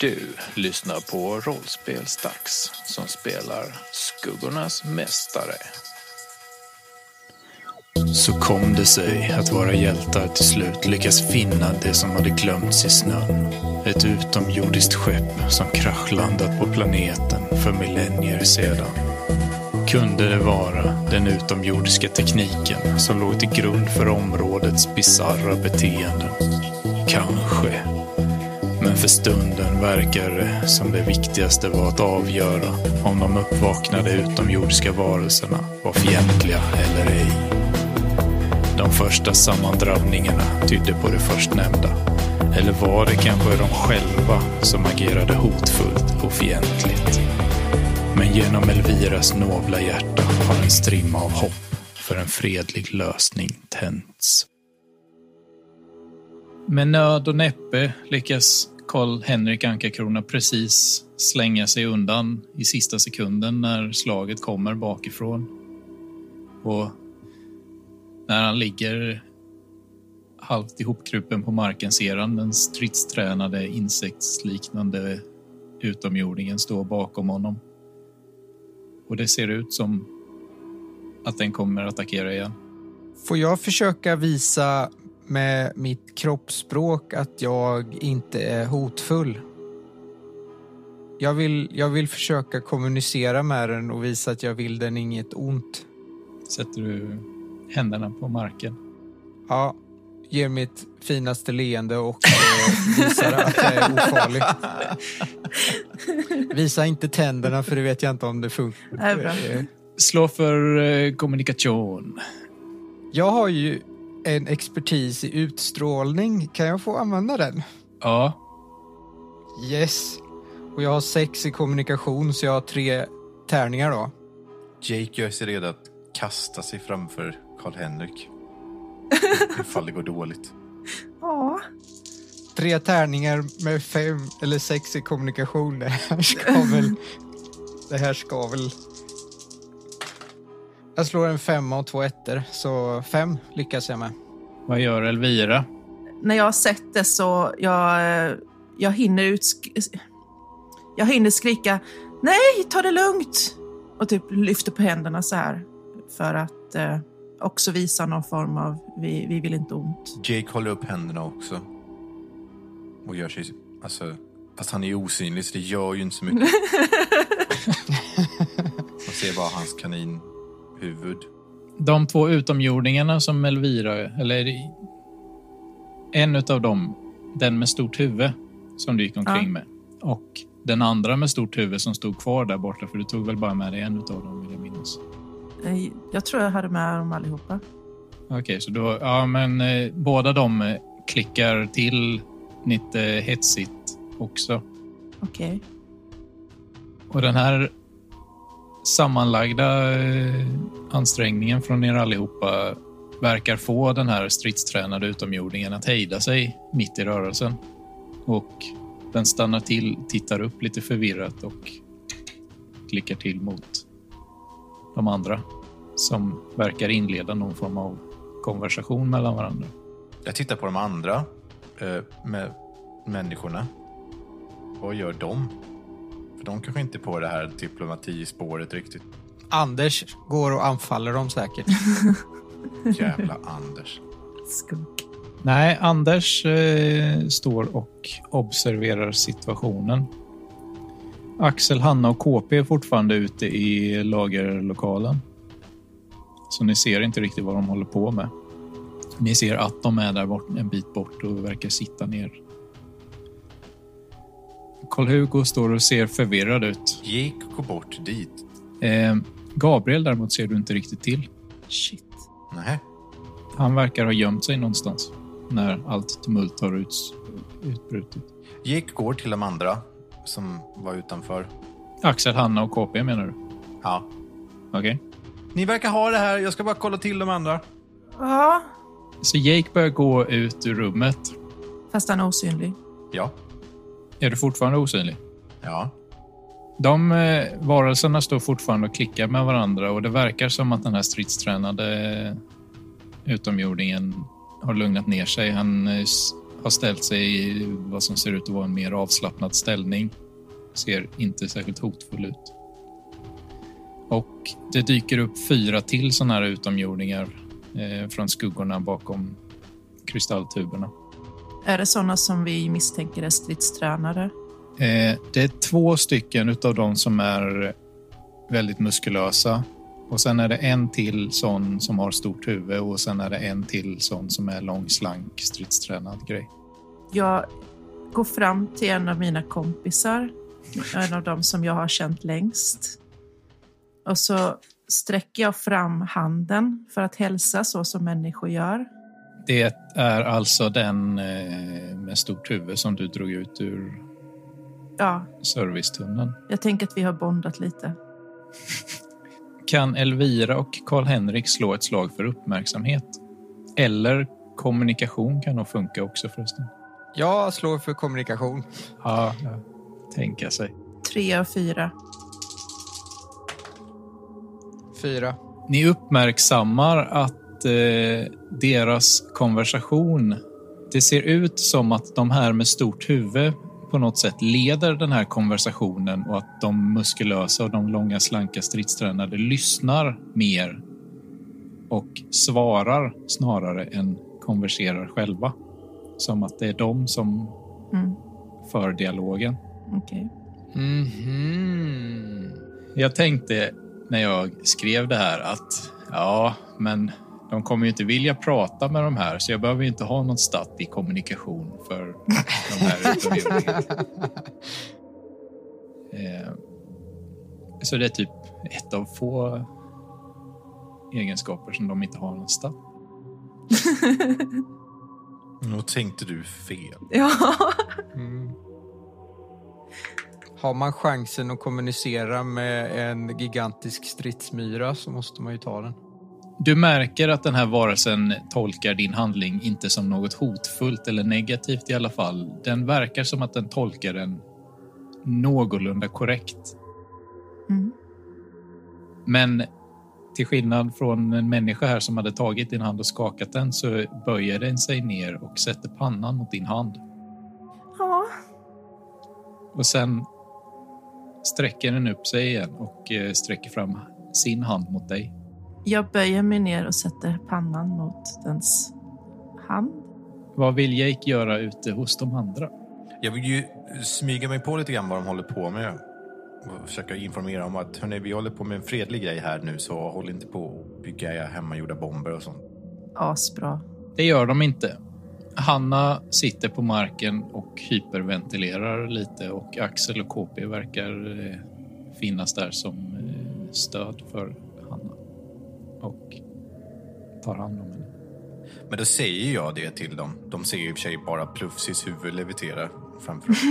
Du lyssnar på Rollspelsdags som spelar Skuggornas Mästare. Så kom det sig att våra hjältar till slut lyckas finna det som hade glömts i snön. Ett utomjordiskt skepp som kraschlandat på planeten för millennier sedan. Kunde det vara den utomjordiska tekniken som låg till grund för områdets bizarra beteenden? Kanske. Men för stunden verkar det som det viktigaste var att avgöra om de uppvaknade utomjordiska varelserna var fientliga eller ej. De första sammandrabbningarna tydde på det förstnämnda. Eller var det kanske de själva som agerade hotfullt och fientligt? Men genom Elviras nobla hjärta har en strimma av hopp för en fredlig lösning tänts. Med nöd och näppe lyckas Karl-Henrik Ankarkrona precis slänga sig undan i sista sekunden när slaget kommer bakifrån. Och när han ligger halvt ihopkrupen på marken ser han den stridstränade insektsliknande utomjordingen stå bakom honom. Och det ser ut som att den kommer attackera igen. Får jag försöka visa med mitt kroppsspråk att jag inte är hotfull? Jag vill, jag vill försöka kommunicera med den och visa att jag vill den inget ont. Sätter du händerna på marken. Ja, ger mitt finaste leende och eh, visar att jag är ofarlig. Visa inte tänderna för det vet jag inte om det funkar. Det är bra. Eh, Slå för eh, kommunikation. Jag har ju en expertis i utstrålning. Kan jag få använda den? Ja, Yes. Och jag har sex i kommunikation så jag har tre tärningar då. Jake gör sig redo att kasta sig framför Karl-Henrik. Ifall det går dåligt. Ja. Tre tärningar med fem eller sex i kommunikation. Det här ska väl... Det här ska väl... Jag slår en femma och två ettor, så fem lyckas jag med. vad gör Elvira? När jag har sett det så jag, eh, jag hinner utsk- Jag hinner skrika nej, ta det lugnt och typ lyfter på händerna så här för att eh, också visa någon form av vi, vi vill inte ont. Jake håller upp händerna också. Och gör sig... Alltså, fast han är ju osynlig så det gör ju inte så mycket. Man ser bara hans kaninhuvud. De två utomjordingarna som Elvira, eller en utav dem, den med stort huvud som du gick omkring Ja. med och den andra med stort huvud som stod kvar där borta, för du tog väl bara med dig en utav dem vill jag minnas. Eh, Jag tror jag hade med dem allihopa. Okej, så då, ja men eh, båda de eh, klickar till lite hetsigt också. Okej. Och den här sammanlagda eh, ansträngningen från er allihopa verkar få den här stridstränade utomjordingen att hejda sig mitt i rörelsen. Och den stannar till, tittar upp lite förvirrat och klickar till mot de andra som verkar inleda någon form av konversation mellan varandra. Jag tittar på de andra eh, med människorna. Vad gör de? För de kanske inte är på det här diplomatispåret riktigt. Anders går och anfaller dem säkert. Jävla Anders. Skunk. Nej, Anders eh, står och observerar situationen. Axel, Hanna och KP är fortfarande ute i lagerlokalen. Så ni ser inte riktigt vad de håller på med. Ni ser att de är där bort, en bit bort och verkar sitta ner. Karl-Hugo står och ser förvirrad ut. Jake går bort dit. Eh, Gabriel däremot ser du inte riktigt till. Shit. Nej. Han verkar ha gömt sig någonstans när allt tumult har uts- utbrutit. Jake går till de andra som var utanför. Axel, Hanna och KP menar du? Ja. Okej. Ni verkar ha det här. Jag ska bara kolla till de andra. Ja, Så Jake börjar gå ut ur rummet. fast han är osynlig. Ja. Är du fortfarande osynlig? Ja. De eh, varelserna står fortfarande och klickar med varandra och det verkar som att den här stridstränade eh, utomjordingen har lugnat ner sig. Han eh, s- har ställt sig i vad som ser ut att vara en mer avslappnad ställning. Ser inte särskilt hotfull ut. Och det dyker upp fyra till sådana här utomjordingar eh, från skuggorna bakom kristalltuberna. Är det sådana som vi misstänker är stridstränare? Eh, det är två stycken utav dem som är väldigt muskulösa. Och sen är det en till sån som har stort huvud och sen är det en till sån som är lång, slank, stridstränad grej. Jag går fram till en av mina kompisar, en av dem som jag har känt längst. Och så sträcker jag fram handen för att hälsa så som människor gör. Det är alltså den eh, med stort huvud som du drog ut ur Ja, servicetunneln. jag tänker att vi har bondat lite. Kan Elvira och Karl-Henrik slå ett slag för uppmärksamhet? Eller kommunikation kan nog funka också förresten. Jag slår för kommunikation. Ja, tänka sig. Tre av fyra. Fyra. Ni uppmärksammar att eh, deras konversation, det ser ut som att de här med stort huvud på något sätt leder den här konversationen och att de muskulösa och de långa slanka stridstränade lyssnar mer och svarar snarare än konverserar själva. Som att det är de som Mm, för dialogen. okej. Mhm. Jag tänkte när jag skrev det här att ja, men de kommer ju inte vilja prata med de här så jag behöver ju inte ha någon stat i kommunikation för de här utomjordingarna. Eh, Så det är typ ett av få egenskaper som de inte har någon stat. Nog tänkte du fel. Ja, Mm. Har man chansen att kommunicera med en gigantisk stridsmyra så måste man ju ta den. Du märker att den här varelsen tolkar din handling inte som något hotfullt eller negativt i alla fall. Den verkar som att den tolkar den någorlunda korrekt. Mm. Men till skillnad från en människa här som hade tagit din hand och skakat den så böjer den sig ner och sätter pannan mot din hand. ja. Och sen sträcker den upp sig igen och eh, sträcker fram sin hand mot dig. Jag böjer mig ner och sätter pannan mot dens hand. Vad vill Jake göra ute hos de andra? Jag vill ju smyga mig på lite grann vad de håller på med. Och försöka informera om att hörni, vi håller på med en fredlig grej här nu så håll inte på och bygga hemmagjorda bomber och sånt. Asbra. Det gör de inte. Hanna sitter på marken och hyperventilerar lite och Axel och KP verkar eh, finnas där som eh, stöd för Hanna. Och tar hand om henne. Men då säger jag det till dem. De ser ju i och för sig bara Plufsis huvud levitera framför oss.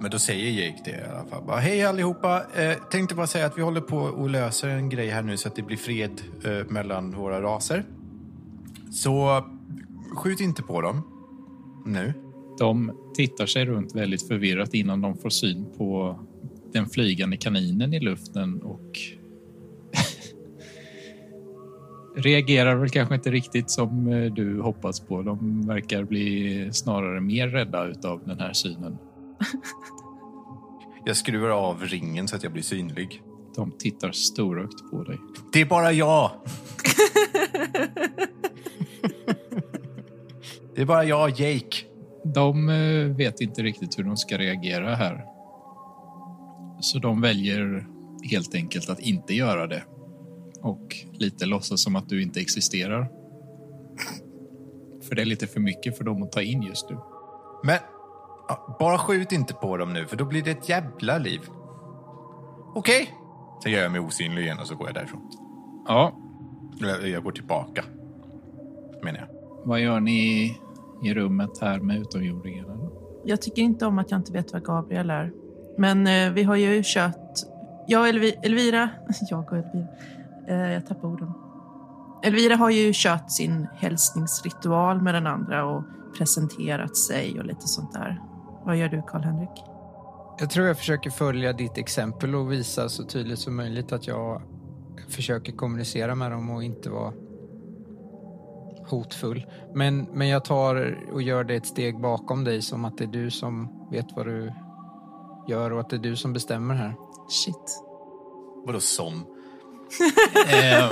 Men då säger Jake det i alla fall. Bara, Hej allihopa! Eh, tänkte bara säga att vi håller på och löser en grej här nu så att det blir fred eh, mellan våra raser. Så skjut inte på dem nu. De tittar sig runt väldigt förvirrat innan de får syn på den flygande kaninen i luften och reagerar väl kanske inte riktigt som eh, du hoppas på. De verkar bli snarare mer rädda utav den här synen. Jag skruvar av ringen så att jag blir synlig. De tittar storögt på dig. Det är bara jag! det är bara jag, Jake. De eh, vet inte riktigt hur de ska reagera här. Så de väljer helt enkelt att inte göra det. Och lite låtsas som att du inte existerar. För det är lite för mycket för dem att ta in just nu. Men ja, bara skjut inte på dem nu, för då blir det ett jävla liv. Okej? Sen gör jag mig osynlig igen och så går jag därifrån. Ja, Eller jag går tillbaka, menar jag. vad gör ni i rummet här med utomjordingarna? då? Jag tycker inte om att jag inte vet vad Gabriel är. Men eh, vi har ju kört... Jag och Elvi, Elvira... Jag och Elvira. Eh, jag tappar orden. Elvira har ju kört sin hälsningsritual med den andra och presenterat sig och lite sånt där. Vad gör du, Karl-Henrik? Jag tror jag försöker följa ditt exempel och visa så tydligt som möjligt att jag försöker kommunicera med dem och inte vara hotfull. Men, men jag tar och gör det ett steg bakom dig som att det är du som vet vad du gör och att det är du som bestämmer här. Shit. Vadå som? Eh,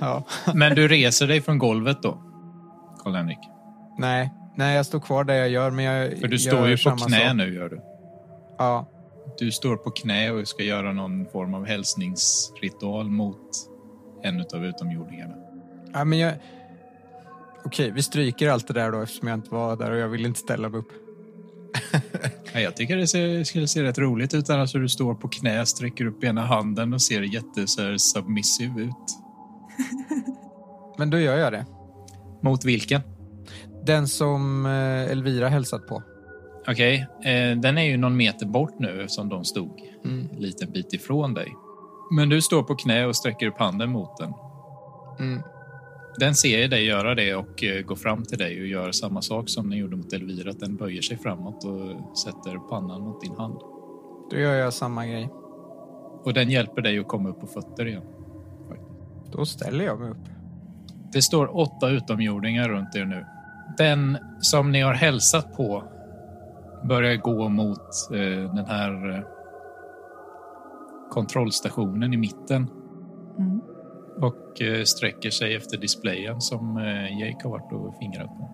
Ja. men du reser dig från golvet då, Karl-Henrik? Nej, nej, jag står kvar där jag gör, men jag För du gör står ju på samma knä sak. nu, gör du. Ja, Du står på knä och ska göra någon form av hälsningsritual mot en utav utomjordingarna. ja men jag... Okej, vi stryker allt det där då eftersom jag inte var där och jag vill inte ställa mig upp. Ja, jag tycker det ser, skulle se rätt roligt ut annars hur du står på knä, sträcker upp ena handen och ser jätte så här, submissive ut. Men då gör jag det. Mot vilken? Den som eh, Elvira hälsat på. Okej, eh, den är ju någon meter bort nu eftersom de stod en liten bit ifrån dig. Men du står på knä och sträcker upp handen mot den. Mm. Den ser ju dig göra det och eh, går fram till dig och gör samma sak som den gjorde mot Elvira. Att den böjer sig framåt och sätter pannan mot din hand. Då gör jag samma grej. Och den hjälper dig att komma upp på fötter igen. Då ställer jag mig upp. Det står åtta utomjordingar runt er nu. Den som ni har hälsat på börjar gå mot eh, den här eh, kontrollstationen i mitten Mm. och eh, sträcker sig efter displayen som eh, Jake har varit och fingrat på.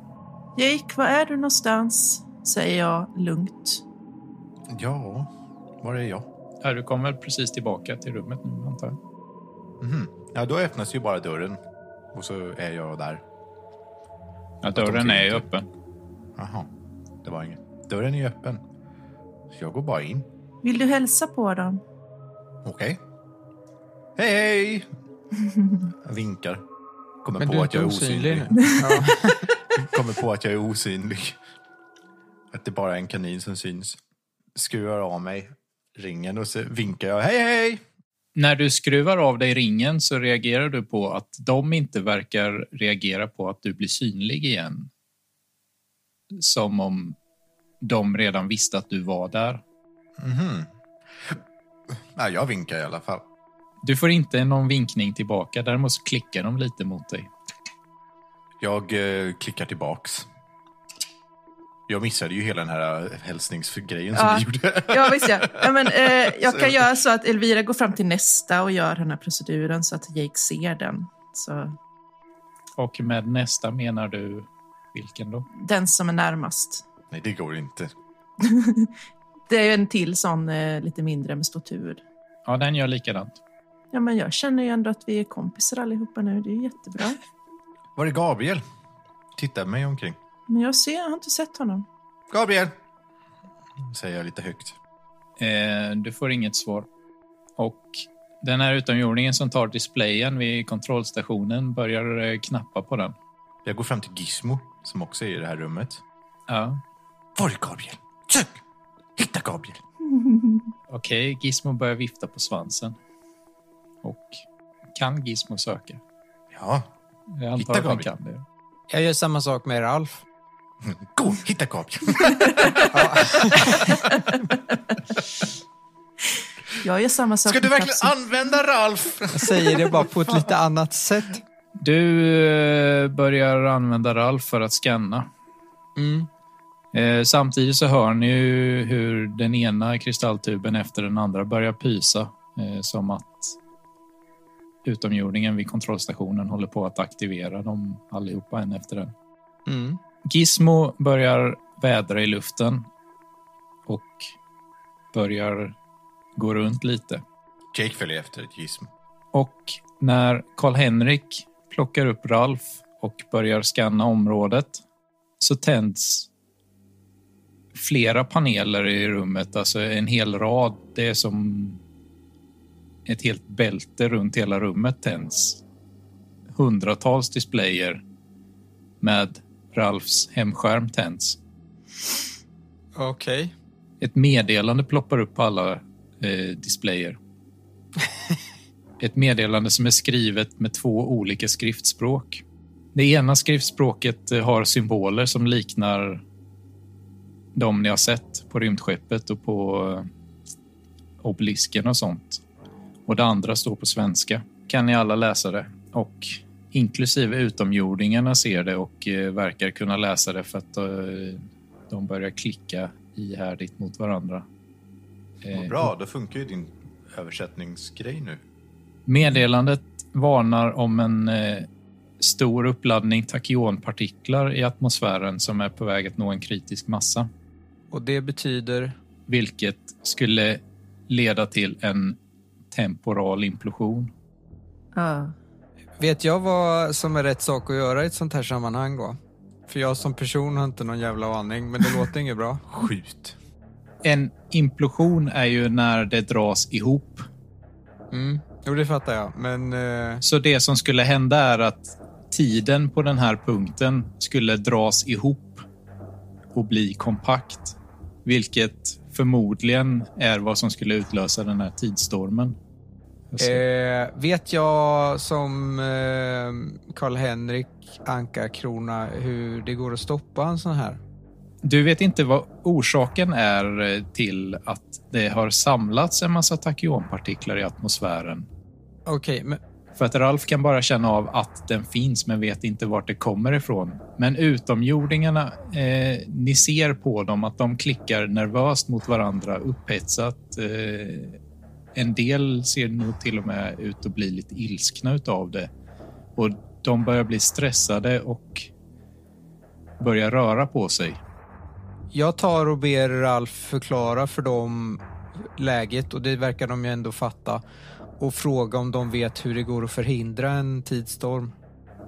Jake, var är du någonstans? Säger jag lugnt. Ja, var är jag? Ja, du kommer väl precis tillbaka till rummet nu antar jag? Mhm. Ja, då öppnas ju bara dörren och så är jag där. Ja, de dörren kan är ju inte- öppen. Jaha, det var inget. Dörren är ju öppen. Så jag går bara in. Vill du hälsa på dem? Okej. Hej, hej! Jag vinkar. Kommer Men på du är att jag inte är osynlig osynlig. nu. Ja. Kommer på att jag är osynlig. Att det bara är en kanin som syns. Skruvar av mig ringen och så vinkar jag. Hej, hej! När du skruvar av dig ringen så reagerar du på att de inte verkar reagera på att du blir synlig igen. Som om de redan visste att du var där. Mhm. Ja, jag vinkar i alla fall. Du får inte någon vinkning tillbaka, däremot så klickar de lite mot dig. Jag eh, klickar tillbaks. Jag missade ju hela den här eh, hälsningsgrejen som Ja. vi gjorde. Ja, visst ja. ja men, eh, jag Så- kan göra så att Elvira går fram till nästa och gör den här proceduren så att Jake ser den. Så Och med nästa menar du vilken då? den som är närmast. Nej, det går inte. Det är en till sån eh, lite mindre med stort huvud. Ja, den gör likadant. Ja, men jag känner ju ändå att vi är kompisar allihopa nu. Det är ju jättebra. Var är Gabriel? Titta mig omkring. Men jag ser, jag har inte sett honom. Gabriel! Säger jag lite högt. Eh, du får inget svar. Och den här utomjordingen som tar displayen vid kontrollstationen börjar eh, knappa på den. Jag går fram till Gizmo, som också är i det här rummet. Ja, Var är Gabriel? Sök! Hitta Gabriel! Okej, Gizmo börjar vifta på svansen. Och kan Gizmo söka? Ja, Jag antar Hitta att han Gabriel. kan det. Jag gör samma sak med Ralf. gå! Hitta Gabriel! Jag gör samma sak Ska du med verkligen Tapsi. använda Ralf? Jag säger det bara på ett lite annat sätt. Du eh, börjar använda Ralf för att scanna. Mm. Eh, Samtidigt så hör ni ju hur den ena kristalltuben efter den andra börjar pysa. eh, Som att utomjordingen vid kontrollstationen håller på att aktivera dem allihopa en efter en. Mm. Gizmo börjar vädra i luften och börjar gå runt lite. Jake följer efter ett Gizmo. Och när Karl-Henrik plockar upp Ralf och börjar scanna området så tänds flera paneler i rummet, alltså en hel rad. Det är som ett helt bälte runt hela rummet tänds. Hundratals displayer med Ralfs hemskärm tänds. Okej. Ett meddelande ploppar upp på alla eh, displayer. Ett meddelande som är skrivet med två olika skriftspråk. Det ena skriftspråket eh, har symboler som liknar de ni har sett på rymdskeppet och på eh, obelisken och sånt. Och det andra står på svenska. Kan ni alla läsa det? Och inklusive utomjordingarna ser det och eh, verkar kunna läsa det för att eh, de börjar klicka ihärdigt mot varandra. Eh, Vad bra, då funkar ju din översättningsgrej nu. Meddelandet varnar om en eh, stor uppladdning tachyonpartiklar i atmosfären som är på väg att nå en kritisk massa, Och det betyder... vilket skulle leda till en temporal implosion. Ja. Vet jag vad som är rätt sak att göra i ett sånt här sammanhang då? För jag som person har inte någon jävla aning, men det låter inget bra. Skjut. En implosion är ju när det dras ihop. Mm. Jo, det fattar jag, men... Eh, Så det som skulle hända är att tiden på den här punkten skulle dras ihop och bli kompakt, vilket förmodligen är vad som skulle utlösa den här tidsstormen. Jag ser- eh, vet jag som eh, Karl-Henrik Anka Krona hur det går att stoppa en sån här? Du vet inte vad orsaken är eh, till att det har samlats en massa tachyonpartiklar i atmosfären. Okej, men För att Ralf kan bara känna av att den finns men vet inte vart det kommer ifrån. Men utomjordingarna, eh, ni ser på dem att de klickar nervöst mot varandra, upphetsat. Eh, en del ser nog till och med ut att bli lite ilskna utav det. Och de börjar bli stressade och börjar röra på sig. jag tar och ber Ralf förklara för dem läget och det verkar de ju ändå fatta. Och fråga om de vet hur det går att förhindra en tidstorm.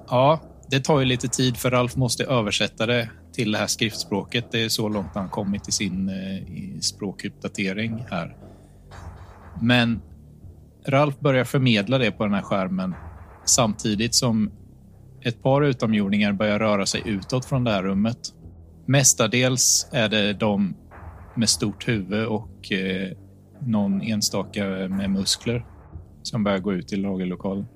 Ja, det tar ju lite tid för Ralf måste översätta det till det här skriftspråket. Det är så långt han kommit i sin eh, i språkuppdatering här. Men Ralf börjar förmedla det på den här skärmen samtidigt som ett par utomjordingar börjar röra sig utåt från det här rummet. Mestadels är det de med stort huvud och eh, någon enstaka med muskler som börjar gå ut i lagerlokalen.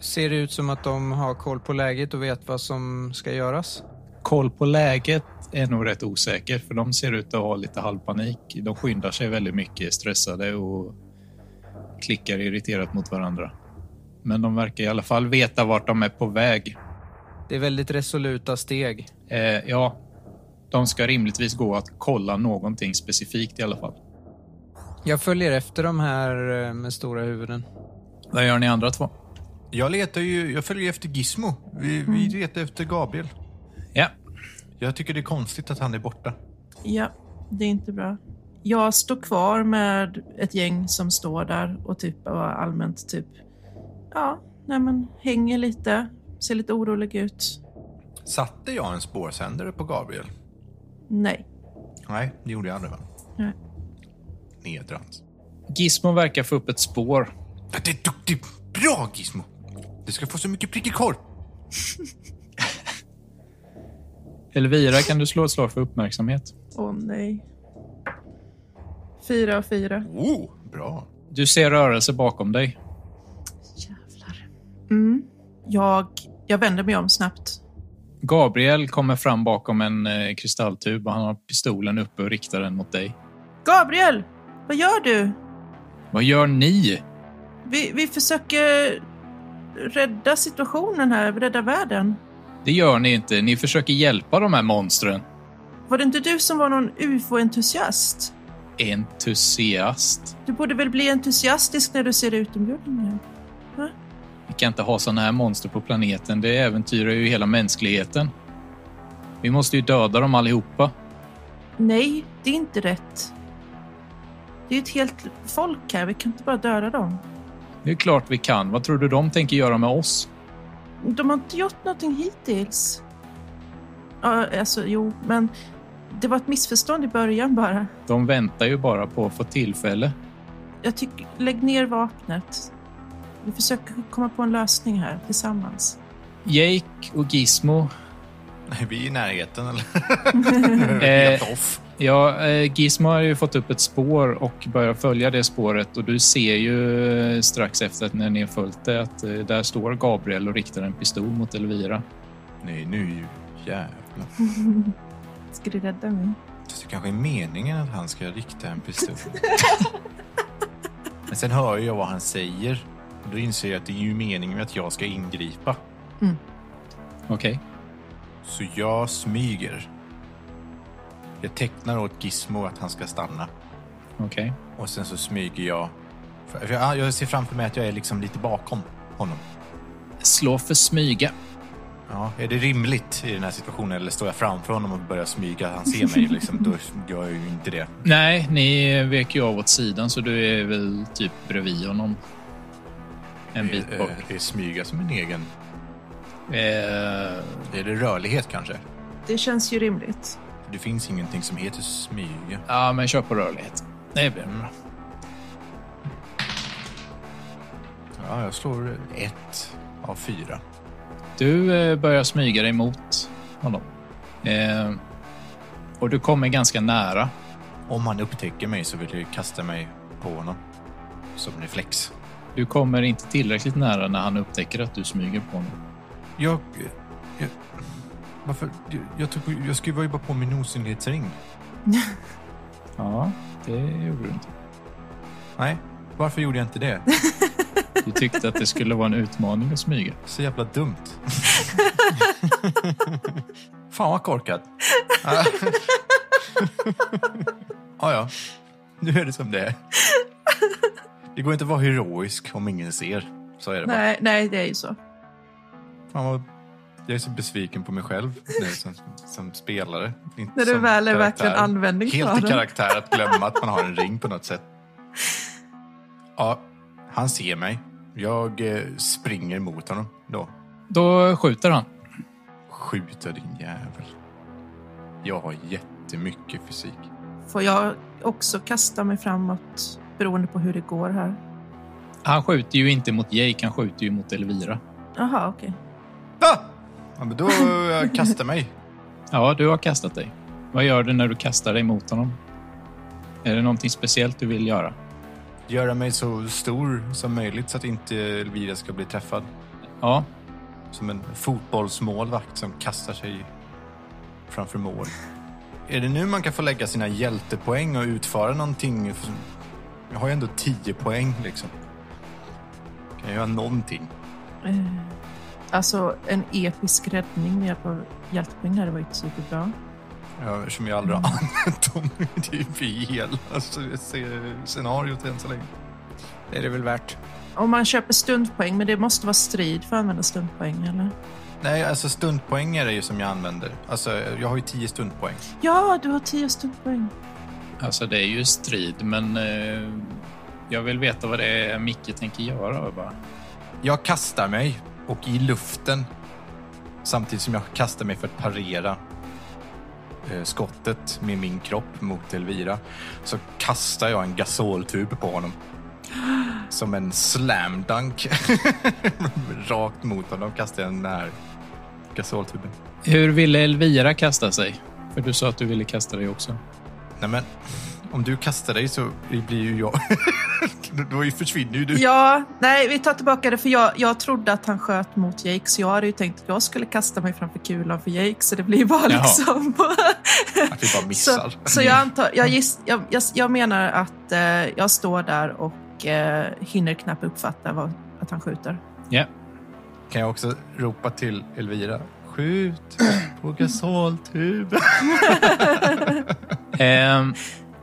Ser det ut som att de har koll på läget och vet vad som ska göras? Koll på läget är nog rätt osäker för de ser ut att ha lite halvpanik. De skyndar sig väldigt mycket, är stressade och klickar irriterat mot varandra. Men de verkar i alla fall veta vart de är på väg. Det är väldigt resoluta steg. Eh, ja, de ska rimligtvis gå att kolla någonting specifikt i alla fall. Jag följer efter de här eh, med stora huvuden. Vad gör ni andra två? Jag letar ju, jag följer efter Gizmo. Vi, vi letar efter Gabriel. Ja, Jag tycker det är konstigt att han är borta. ja, det är inte bra. Jag står kvar med ett gäng som står där och typ och allmänt typ, ja, nej men hänger lite, ser lite orolig ut. Satte jag en spårsändare på Gabriel? Nej. Nej, det gjorde jag aldrig va? Nej. Nedrans. Gizmo verkar få upp ett spår. Det är duktig! Bra Gizmo! Du ska få så mycket prickig korv. Elvira, kan du slå ett slag för uppmärksamhet? Åh nej. Fyra och fyra. Oh, bra. Du ser rörelse bakom dig. Jävlar. Mm. Jag, jag vänder mig om snabbt. Gabriel kommer fram bakom en eh, kristalltub och han har pistolen uppe och riktar den mot dig. Gabriel! Vad gör du? Vad gör ni? Vi, vi försöker rädda situationen här, rädda världen. Det gör ni inte. Ni försöker hjälpa de här monstren. Var det inte du som var någon ufo-entusiast? Entusiast. Du borde väl bli entusiastisk när du ser utomjordingar? Vi kan inte ha såna här monster på planeten. Det äventyrar ju hela mänskligheten. Vi måste ju döda dem allihopa. Nej, det är inte rätt. Det är ett helt folk här, vi kan inte bara döda dem. Det är klart vi kan. Vad tror du de tänker göra med oss? De har inte gjort någonting hittills. Ja, alltså jo, men det var ett missförstånd i början bara. De väntar ju bara på att få tillfälle. Jag tycker, lägg ner vapnet. Vi försöker komma på en lösning här tillsammans. Jake och Gizmo. Nej, vi är i närheten eller? Eh, Helt off. Ja, eh, Gizmo har ju fått upp ett spår och börjar följa det spåret och du ser ju eh, strax efter att när ni har följt det att eh, där står Gabriel och riktar en pistol mot Elvira. Nej, nu är ju jävlar. Ska du rädda mig? Fast det kanske är meningen att han ska rikta en pistol. Men sen hör jag vad han säger. Och då inser jag att det är ju meningen att jag ska ingripa. Okej. Så jag smyger. Jag tecknar åt Gizmo att han ska stanna. Okej. Och sen så smyger jag. För jag, jag ser framför mig att jag är liksom lite bakom honom. Slå för smyga. Ja, är det rimligt i den här situationen eller står jag framför honom och börjar smyga? Han ser mig liksom, då gör jag ju inte det. Nej, ni vek ju av åt sidan så du är väl typ bredvid honom. En bit Eh, bort. Är smyga som en egen... Eh, Är det rörlighet kanske? Det känns ju rimligt. Det finns ingenting som heter smyga. Mm. ja, men kör på rörlighet. Det blir bra. Ja, jag slår ett av fyra. Du eh, börjar smyga dig mot honom. Eh, och du kommer ganska nära. Om han upptäcker mig så vill jag ju kasta mig på honom. Som reflex. Du kommer inte tillräckligt nära när han upptäcker att du smyger på honom. Jag... jag varför? Jag, jag, tog, jag skruvar ju bara på min osynlighetsring. Ja, det gjorde du inte. Nej, varför gjorde jag inte det? Du tyckte att det skulle vara en utmaning att smyga. Så jävla dumt. Fan vad korkat. ah, ja, nu är det som det är. Det går inte att vara heroisk om ingen ser. Så är det bara. Nej, nej, det är ju så. Fan vad... Jag är så besviken på mig själv nu som, som spelare. Inte När det som väl är karaktär. verkligen användning för Helt i den. karaktär att glömma att man har en ring på något sätt. Ja, han ser mig. Jag eh, springer mot honom då. Då skjuter han. Skjuta din jävel. Jag har jättemycket fysik. Får jag också kasta mig framåt beroende på hur det går här? Han skjuter ju inte mot Jake, han skjuter ju mot Elvira. Jaha, okej. Va? Ja, men då eh, kastar mig. Ja, du har kastat dig. Vad gör du när du kastar dig mot honom? Är det någonting speciellt du vill göra? Göra mig så stor som möjligt så att inte Elvira ska bli träffad. Ja, Som en fotbollsmålvakt som kastar sig framför mål. Är det nu man kan få lägga sina hjältepoäng och utföra någonting? Jag har ju ändå 10 poäng liksom. Kan jag göra någonting? Eh, Alltså, en episk räddning med hjälp av hjältepoäng här, det var ju inte superbra. Ja, Som jag aldrig har använt dem i typ i hela alltså, se- scenariot än så länge. Det är det väl värt. Om man köper stundpoäng, men det måste vara strid för att använda stundpoäng, eller? Nej, alltså stundpoänger är ju som jag använder. Alltså, jag har ju 10 stundpoäng. Ja, du har tio stundpoäng. alltså det är ju strid, men eh, jag vill veta vad det är Micke tänker göra. Bara. Jag kastar mig och i luften samtidigt som jag kastar mig för att parera eh, skottet med min kropp mot Elvira så kastar jag en gasoltub på honom. Som en slam dunk. Rakt mot honom kastar jag den här gasoltuben. Hur ville Elvira kasta sig? För du sa att du ville kasta dig också. Nej men, om du kastar dig så blir ju jag... Då försvinner ju du. Ja, nej, vi tar tillbaka det, för jag, jag trodde att han sköt mot Jake, så jag hade ju tänkt att jag skulle kasta mig framför kulan för Jake, så det blir bara Jaha. liksom... Att vi bara så, missar. så jag antar, jag, giss, jag, jag, jag menar att eh, jag står där och eh, hinner knappt uppfatta vad, att han skjuter. Ja, Kan jag också ropa till Elvira? Skjut på gasoltuben. Ehm,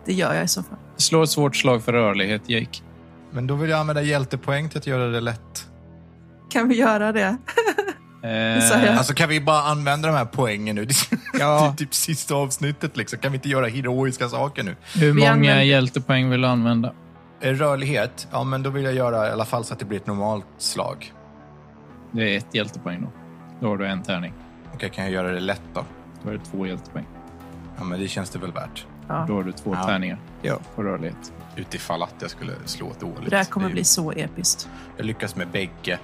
Det gör jag i så fall. slå ett svårt slag för rörlighet, Jake. Men då vill jag använda hjältepoäng till att göra det lätt. Kan vi göra det? Ehm, sa jag. Alltså kan vi bara använda de här poängen nu? Det är Ja. typ sista avsnittet liksom. Kan vi inte göra heroiska saker nu? hur Vi många använder- hjältepoäng vill du använda? Eh, Rörlighet? Ja, men då vill jag göra i alla fall så att det blir ett normalt slag. Det är ett hjältepoäng då. Då har du en tärning. Okej, kan jag göra det lätt då? Då är det två hjältepoäng. Ja, men det känns det väl värt. Ja, Då har du två Ja. tärningar Ja. på rörlighet. Utifall att jag skulle slå dåligt. det här kommer är- bli så episkt. Jag lyckas med bägge,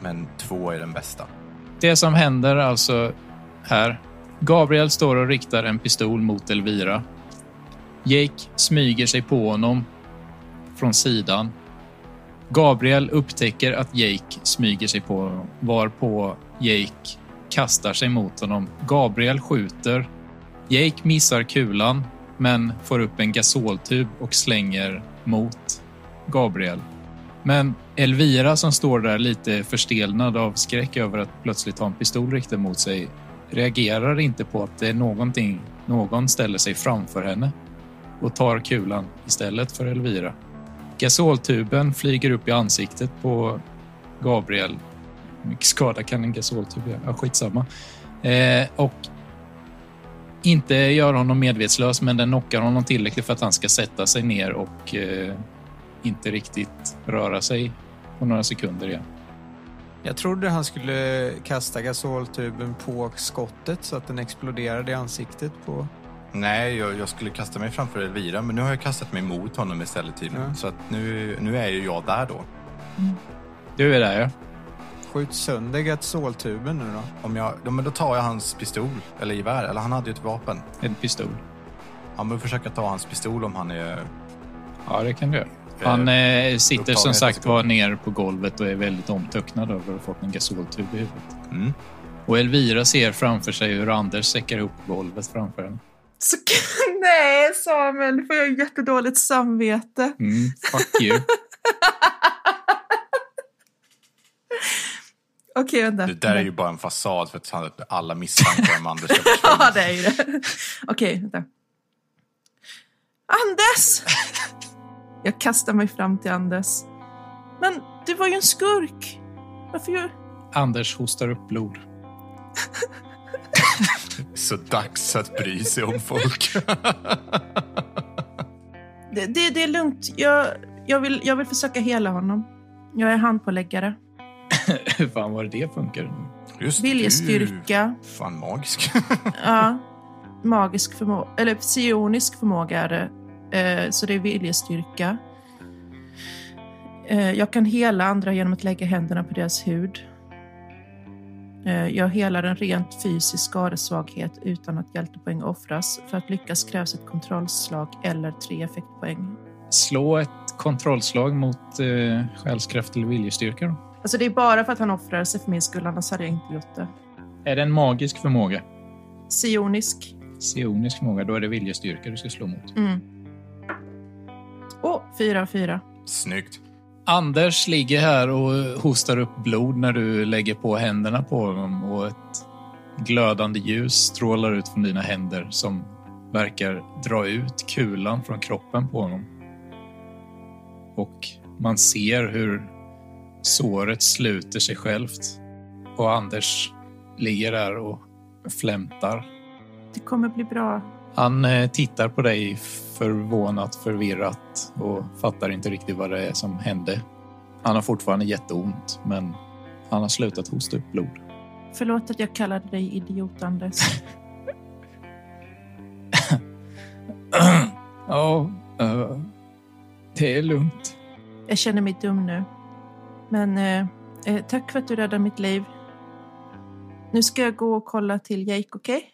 men två är den bästa. Det som händer alltså här. Gabriel står och riktar en pistol mot Elvira. Jake smyger sig på honom från sidan. Gabriel upptäcker att Jake smyger sig på honom, varpå Jake kastar sig mot honom. Gabriel skjuter. Jake missar kulan, men får upp en gasoltub och slänger mot Gabriel. Men Elvira som står där lite förstelnad av skräck över att plötsligt ha en pistol riktad mot sig reagerar inte på att det är någonting, någon ställer sig framför henne och tar kulan istället för Elvira. Gasoltuben flyger upp i ansiktet på Gabriel. Hur mycket skada kan en gasoltub göra? Ja, skitsamma. Eh, och inte gör honom medvetslös, men den knockar honom tillräckligt för att han ska sätta sig ner och eh, inte riktigt röra sig på några sekunder igen. Jag trodde han skulle kasta gasoltuben på skottet så att den exploderade i ansiktet på... Nej, jag, jag skulle kasta mig framför Elvira, men nu har jag kastat mig mot honom istället tydligen. Ja. Så att nu, nu är ju jag där då. Du är där ja. Skjut sönder gasoltuben nu då. Om jag, då, men då tar jag hans pistol, eller gevär, eller han hade ju ett vapen. En pistol. Ja, men försöka ta hans pistol om han är... Ja, det kan du göra. Han eh, sitter upptagen som ett sagt sekund. var ner på golvet och är väldigt omtöcknad över att ha fått en gasoltub i huvudet. Mm. Och Elvira ser framför sig hur Anders säckar ihop golvet framför henne. Så, nej, Samuel, nu får jag jättedåligt samvete. Mm, fuck you. Okej, vänta. Det där är ju bara en fasad för att han- alla misstankar om Anders ska Ja, försvinna. det är ju det. Okej, vänta. Anders! Jag kastar mig fram till Anders. Men du var ju en skurk. Varför ju... Anders hostar upp blod. Så dags att bry sig om folk. Det, det, det är lugnt. Jag, jag, vill, jag vill försöka hela honom. Jag är handpåläggare. Hur fan var det det funkar? Just du. Viljestyrka. Fan, magisk. Ja. Magisk förmåga. Eller psionisk förmåga är det. Eh, så det är viljestyrka. Eh, jag kan hela andra genom att lägga händerna på deras hud. Eh, jag helar en rent fysisk skadesvaghet utan att hjältepoäng offras. För att lyckas krävs ett kontrollslag eller tre effektpoäng. Slå ett kontrollslag mot eh, själskraft eller viljestyrka. Då. Alltså det är bara för att han offrade sig för min skull, annars hade jag inte gjort det. Är det en magisk förmåga? Psionisk. Sionisk förmåga, då är det viljestyrka du ska slå mot. Mm. Åh, fyra, fyra. Snyggt. Anders ligger här och hostar upp blod när du lägger på händerna på honom och ett glödande ljus strålar ut från dina händer som verkar dra ut kulan från kroppen på honom. Och man ser hur såret sluter sig självt och Anders ligger där och flämtar. Det kommer bli bra. Han eh, tittar på dig förvånat, förvirrat och fattar inte riktigt vad det är som hände. Han har fortfarande jätteont, men han har slutat hosta upp blod. Förlåt att jag kallade dig idiot, Anders. Ja, eh, det är lugnt. Jag känner mig dum nu. Men eh, eh, tack för att du räddade mitt liv. Nu ska jag gå och kolla till Jake, okej?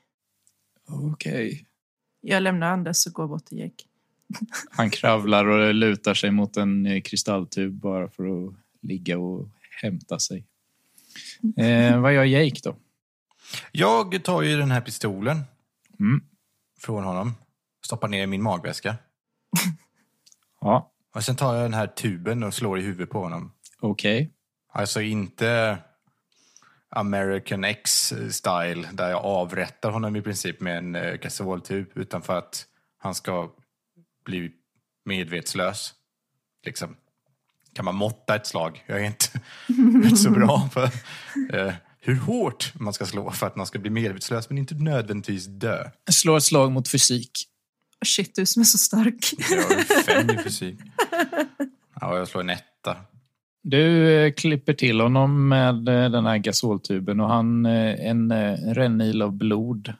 Okej. Jag lämnar Anders och går bort till Jake. Han kravlar och lutar sig mot en eh, kristalltub bara för att ligga och hämta sig. Eh, vad gör Jake då? Jag tar ju den här pistolen Mm. från honom. Stoppar ner i min magväska. Ja, Och sen tar jag den här tuben och slår i huvudet på honom. okej. Alltså inte American X-style där jag avrättar honom i princip med en eh, gasoltub utan för att han ska bli medvetslös. Liksom. Kan man måtta ett slag? Jag är inte, inte så bra på eh, hur hårt man ska slå för att man ska bli medvetslös men inte nödvändigtvis dö. Slå ett slag mot fysik. Shit, du som är så stark. Jag har ju fem i fysik. Ja, jag slår en etta. Du eh, klipper till honom med eh, den här gasoltuben och han, eh, en eh, rännil av blod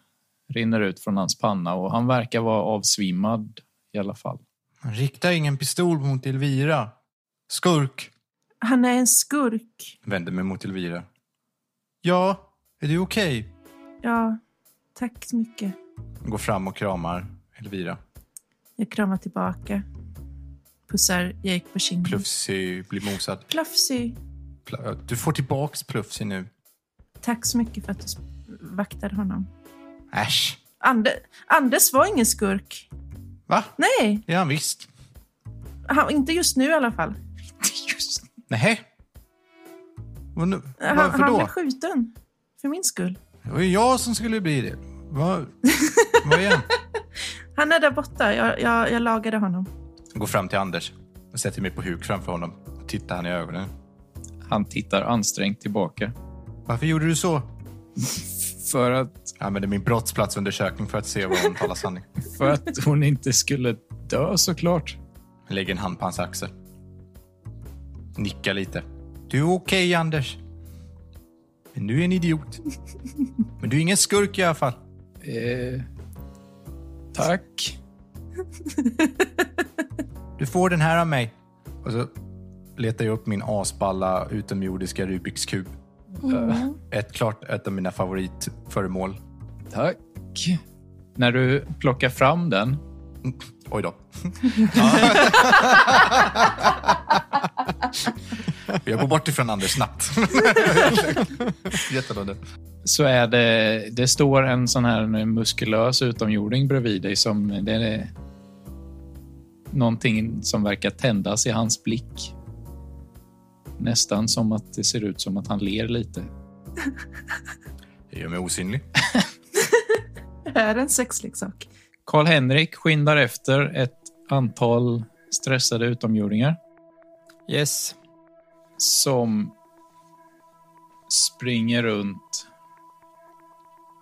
rinner ut från hans panna och han verkar vara avsvimmad i alla fall. Rikta ingen pistol mot Elvira. Skurk! Han är en skurk. Vänder mig mot Elvira. Ja, är du okej? Ja, tack så mycket. Går fram och kramar Elvira. Jag kramar tillbaka. Pussar Jake på kinden. Plufsy blir mosad. Plafsig. Pla- Du får tillbaks Plufsy nu. Tack så mycket för att du s- vaktade honom. Äsch. Ande- Anders var ingen skurk. Va? Nej, Det är han visst. Han, inte just nu i alla fall. Just Nej, Vad nu? Han, Varför han då? blev skjuten. För min skull. det var ju jag som skulle bli det. Vad vad igen? Han är där borta. Jag, jag, jag lagade honom. Går fram till Anders och sätter mig på huk framför honom. Tittar han i ögonen. Han tittar ansträngt tillbaka. Varför gjorde du så? För att, Jag använde min brottsplatsundersökning för att se vad hon talar sanning. för att hon inte skulle dö såklart. Jag Lägger en hand på hans axel. Nickar lite. Du är okej, Anders. Men du är en idiot. Men du är ingen skurk i alla fall. Eh, tack. Du får den här av mig. Och så letar jag upp min asballa utomjordiska Rubiks kub. Äh, Ett klart ett av mina favoritföremål. Tack. När du plockar fram den Oj då. jag går bort ifrån Anders snabbt. Jättelunde. så är det, det står en sån här muskulös utomjording bredvid dig som det är någonting som verkar tändas i hans blick. Nästan som att det ser ut som att han ler lite. Jag gör mig osynlig. Det är en sexleksak. Karl-Henrik skyndar efter ett antal stressade utomjordingar Yes. som springer runt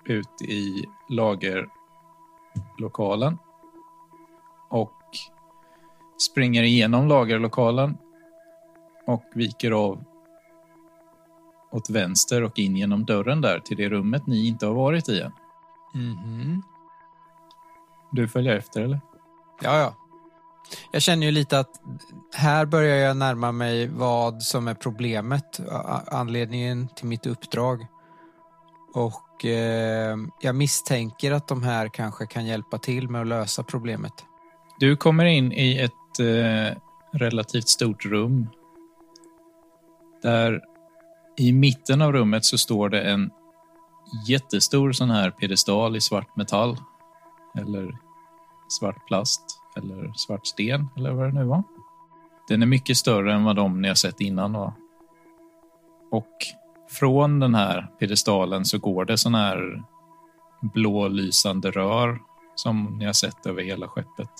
ut i lagerlokalen och springer igenom lagerlokalen och viker av åt vänster och in genom dörren där till det rummet ni inte har varit i än. Mhm. Du följer efter eller? Ja, ja. Jag känner ju lite att här börjar jag närma mig vad som är problemet, a- anledningen till mitt uppdrag. Och eh, jag misstänker att de här kanske kan hjälpa till med att lösa problemet. Du kommer in i ett eh, relativt stort rum. Där i mitten av rummet så står det en jättestor sån här piedestal i svart metall. Eller svart plast eller svart sten eller vad det nu var. Den är mycket större än vad de ni har sett innan var. Och från den här piedestalen så går det sån här blå lysande rör som ni har sett över hela skeppet.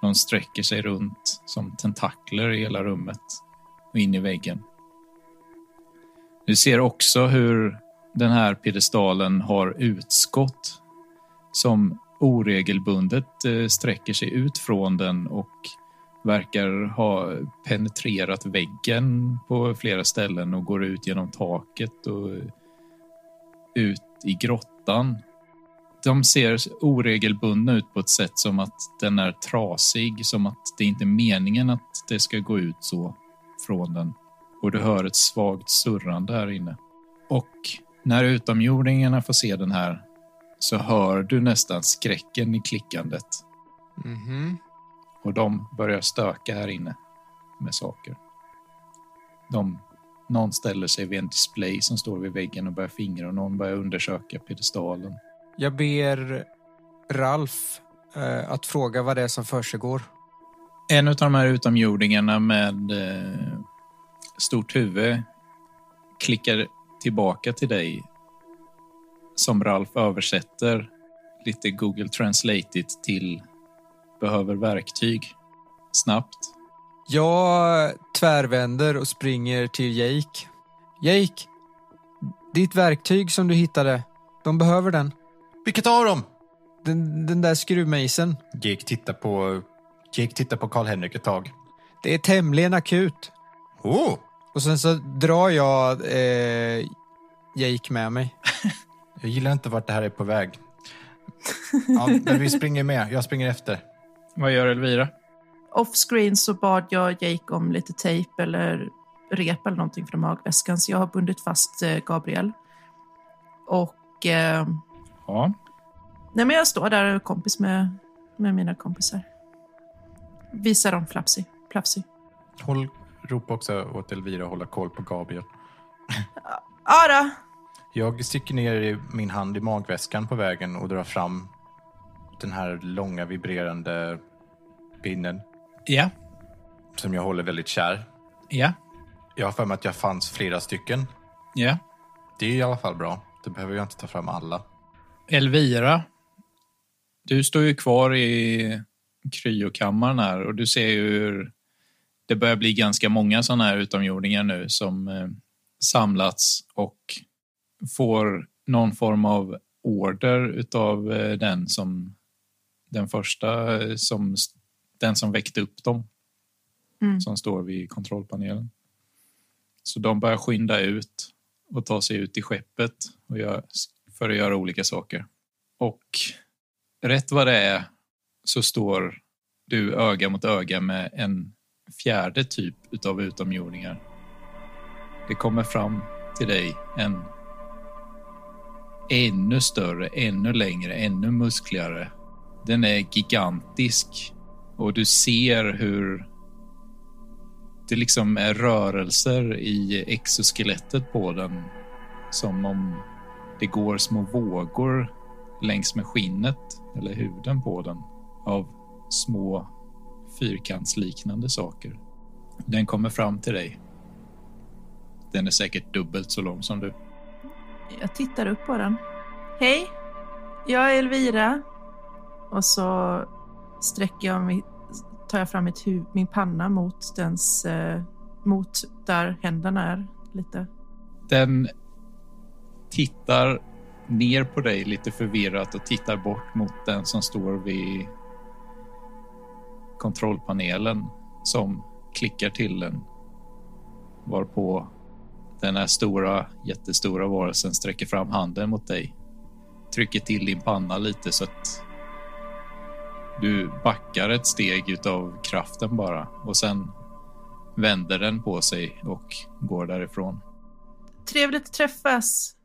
De sträcker sig runt som tentakler i hela rummet och in i väggen. Du ser också hur den här piedestalen har utskott som oregelbundet eh, sträcker sig ut från den och verkar ha penetrerat väggen på flera ställen och går ut genom taket och ut i grottan de ser oregelbundna ut på ett sätt som att den är trasig, som att det inte är meningen att det ska gå ut så från den. Och du hör ett svagt surrande här inne. Och när utomjordingarna får se den här så hör du nästan skräcken i klickandet Mhm. och de börjar stöka här inne med saker. De, någon ställer sig vid en display som står vid väggen och börjar fingra och någon börjar undersöka piedestalen. Jag ber Ralf eh, att fråga vad det är som försiggår. En av de här utomjordingarna med eh, stort huvud klickar tillbaka till dig som Ralf översätter lite Google Translate till behöver verktyg snabbt. Jag tvärvänder och springer till Jake. Jake, ditt verktyg som du hittade, de behöver den. Vilket av dem? Den, den där skruvmejseln. Jake tittar på Jake tittar på Karl-Henrik ett tag. Det är tämligen akut. Oh, Och sen så drar jag eh, Jake med mig. jag gillar inte vart det här är på väg. Ja, men vi springer med. Jag springer efter. Vad gör Elvira? Off screen så bad jag Jake om lite tejp eller rep eller någonting från magväskan. Så jag har bundit fast eh, Gabriel. Och... Eh, Ja, nej men jag står där och är kompis med, med mina kompisar. Visar dem Flapsy. Flapsy. Håll, ropa också åt Elvira att hålla koll på Gabriel. Ja då. Jag sticker ner i min hand i magväskan på vägen och drar fram den här långa vibrerande pinnen ja, som jag håller väldigt kär. ja. Jag har för mig att jag fanns flera stycken. Ja. Det är i alla fall bra. Då behöver jag inte ta fram alla. Elvira, du står ju kvar i kryokammaren här och du ser ju hur det börjar bli ganska många sådana här utomjordingar nu som eh, samlats och får någon form av order utav eh, den som den första eh, som s- den som väckte upp dem Mm. som står vid kontrollpanelen. Så de börjar skynda ut och ta sig ut i skeppet och gör, för att göra olika saker. Och rätt vad det är så står du öga mot öga med en fjärde typ utav utomjordingar. Det kommer fram till dig en ännu större, ännu längre, ännu muskligare. Den är gigantisk och du ser hur det liksom är rörelser i exoskelettet på den som om det går små vågor längs med skinnet eller huden på den av små fyrkantsliknande saker. Den kommer fram till dig. Den är säkert dubbelt så lång som du. Jag tittar upp på den. Hej, jag är Elvira. Och så sträcker jag mig, tar jag fram mitt hu- min panna mot, dens, eh, mot där händerna är. Lite. Den tittar ner på dig lite förvirrat och tittar bort mot den som står vid kontrollpanelen som klickar till den. Varpå den här stora, jättestora varelsen sträcker fram handen mot dig. Trycker till din panna lite så att du backar ett steg utav kraften bara och sen vänder den på sig och går därifrån. Trevligt att träffas.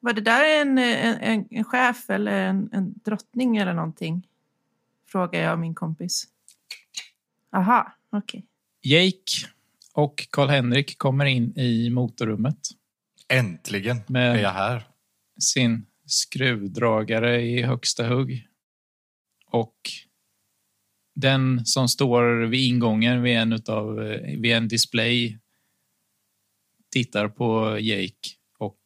Var det där en, en, en, en chef eller en, en drottning eller någonting? Frågar jag min kompis. Aha, okej. Jake och Karl-Henrik kommer in i motorrummet Äntligen Men- är jag här. sin skruvdragare i högsta hugg. Och den som står vid ingången vid en, utav, eh, vid en display tittar på Jake och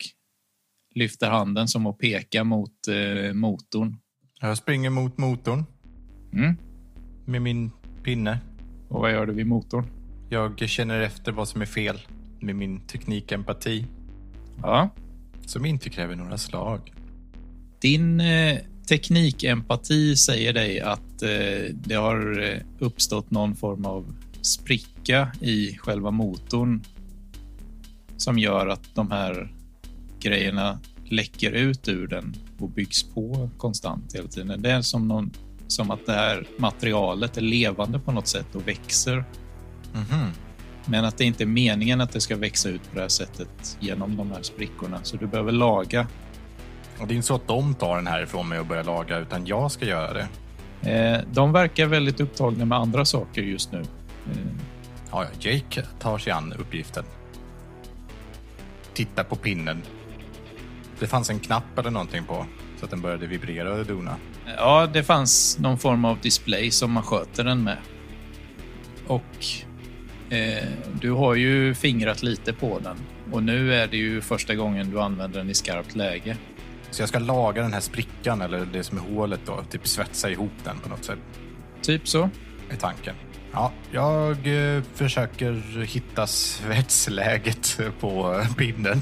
lyfter handen som att peka mot eh, motorn. Jag springer mot motorn Mm. med min pinne. Och vad gör du vid motorn? Jag känner efter vad som är fel med min teknikempati Ja. som inte kräver några slag. Din eh, teknikempati säger dig att eh, det har eh, uppstått någon form av spricka i själva motorn som gör att de här grejerna läcker ut ur den och byggs på konstant hela tiden. Det är som, någon, som att det här materialet är levande på något sätt och växer. Mhm. Men att det inte är meningen att det ska växa ut på det här sättet genom de här sprickorna. Så du behöver laga Och det är inte så att de tar den här ifrån mig och börjar laga utan jag ska göra det. Eh, De verkar väldigt upptagna med andra saker just nu. Eh, Ja, ja, Jake tar sig an uppgiften. Titta på pinnen. Det fanns en knapp eller någonting på så att den började vibrera och dona. Ja, det fanns någon form av display som man sköter den med. Och eh, du har ju fingrat lite på den och nu är det ju första gången du använder den i skarpt läge. Så jag ska laga den här sprickan eller det som är hålet då, typ svetsa ihop den på något sätt. Typ så. är tanken. Ja, jag eh, försöker hitta svetsläget på eh, pinnen.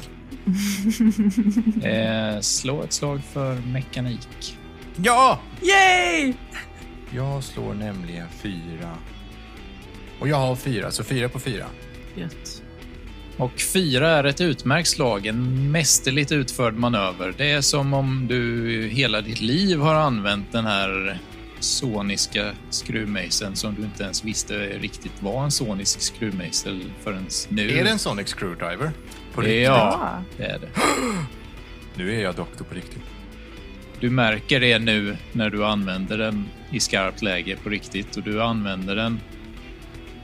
Eh, slå ett slag för mekanik. Ja! Yay! Jag slår nämligen fyra. Och jag har fyra, så fyra på fyra. Gött. Och fyra är ett utmärkt slag, en mästerligt utförd manöver. Det är som om du hela ditt liv har använt den här soniska skruvmejseln som du inte ens visste riktigt var en sonisk skruvmejsel förrän nu. Är det en Sonic Screwdriver? På riktigt? Ja, Bra. det är det. Nu är jag doktor på riktigt. Du märker det nu när du använder den i skarpt läge på riktigt och du använder den.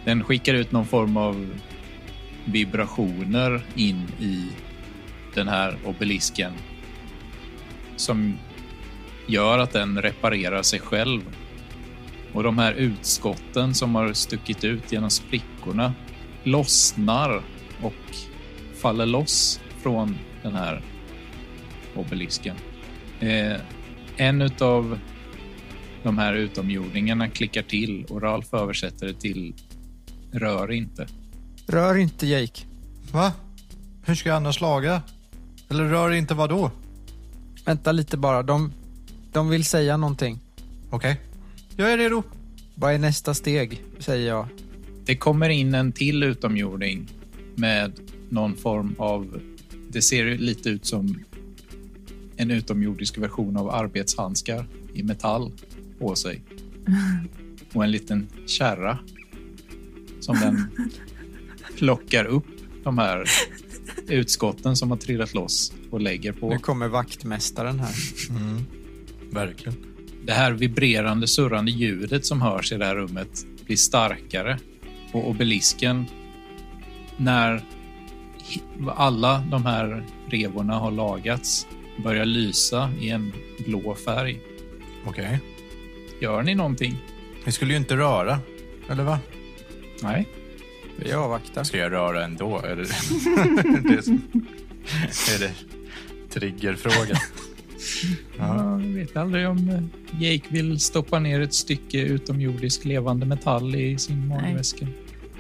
Den skickar ut någon form av vibrationer in i den här obelisken som gör att den reparerar sig själv. Och de här utskotten som har stuckit ut genom sprickorna lossnar och faller loss från den här obelisken. Eh, en av de här utomjordingarna klickar till och Ralf översätter det till rör inte. Rör inte Jake. Va? Hur ska jag annars laga? Eller rör inte vad då? Vänta lite bara. De, de vill säga någonting. Okej. Jag är redo. Vad är nästa steg? Säger jag. Det kommer in en till utomjording med någon form av... Det ser lite ut som en utomjordisk version av arbetshandskar i metall på sig. Och en liten kärra som den plockar upp de här utskotten som har trillat loss och lägger på. Nu kommer vaktmästaren här. Verkligen. Det här vibrerande, surrande ljudet som hörs i det här rummet blir starkare och obelisken när hi- alla de här revorna har lagats börjar lysa i en blå färg. Okej. Gör ni någonting? Vi skulle ju inte röra. Eller va? Nej. Vi avvaktar. Ska jag röra ändå? Är det, det är, som- är det triggerfrågan? Jag vet aldrig om eh, Jake vill stoppa ner ett stycke utomjordisk levande metall i sin magväska.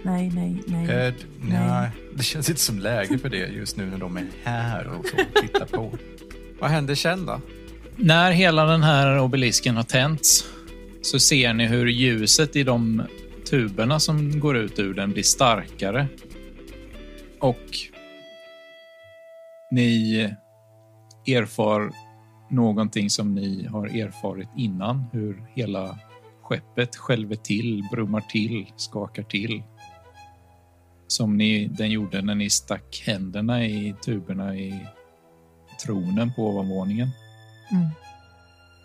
Nej, nej, nej. Eh, d- nej, det känns inte som läge för det just nu när de är här och så och tittar på. Vad händer sen då? När hela den här obelisken har tänts så ser ni hur ljuset i de tuberna som går ut ur den blir starkare. Och ni erfar någonting som ni har erfarit innan, hur hela skeppet skälver till, brummar till, skakar till. Som ni, den gjorde när ni stack händerna i tuberna i tronen på ovanvåningen. Mm.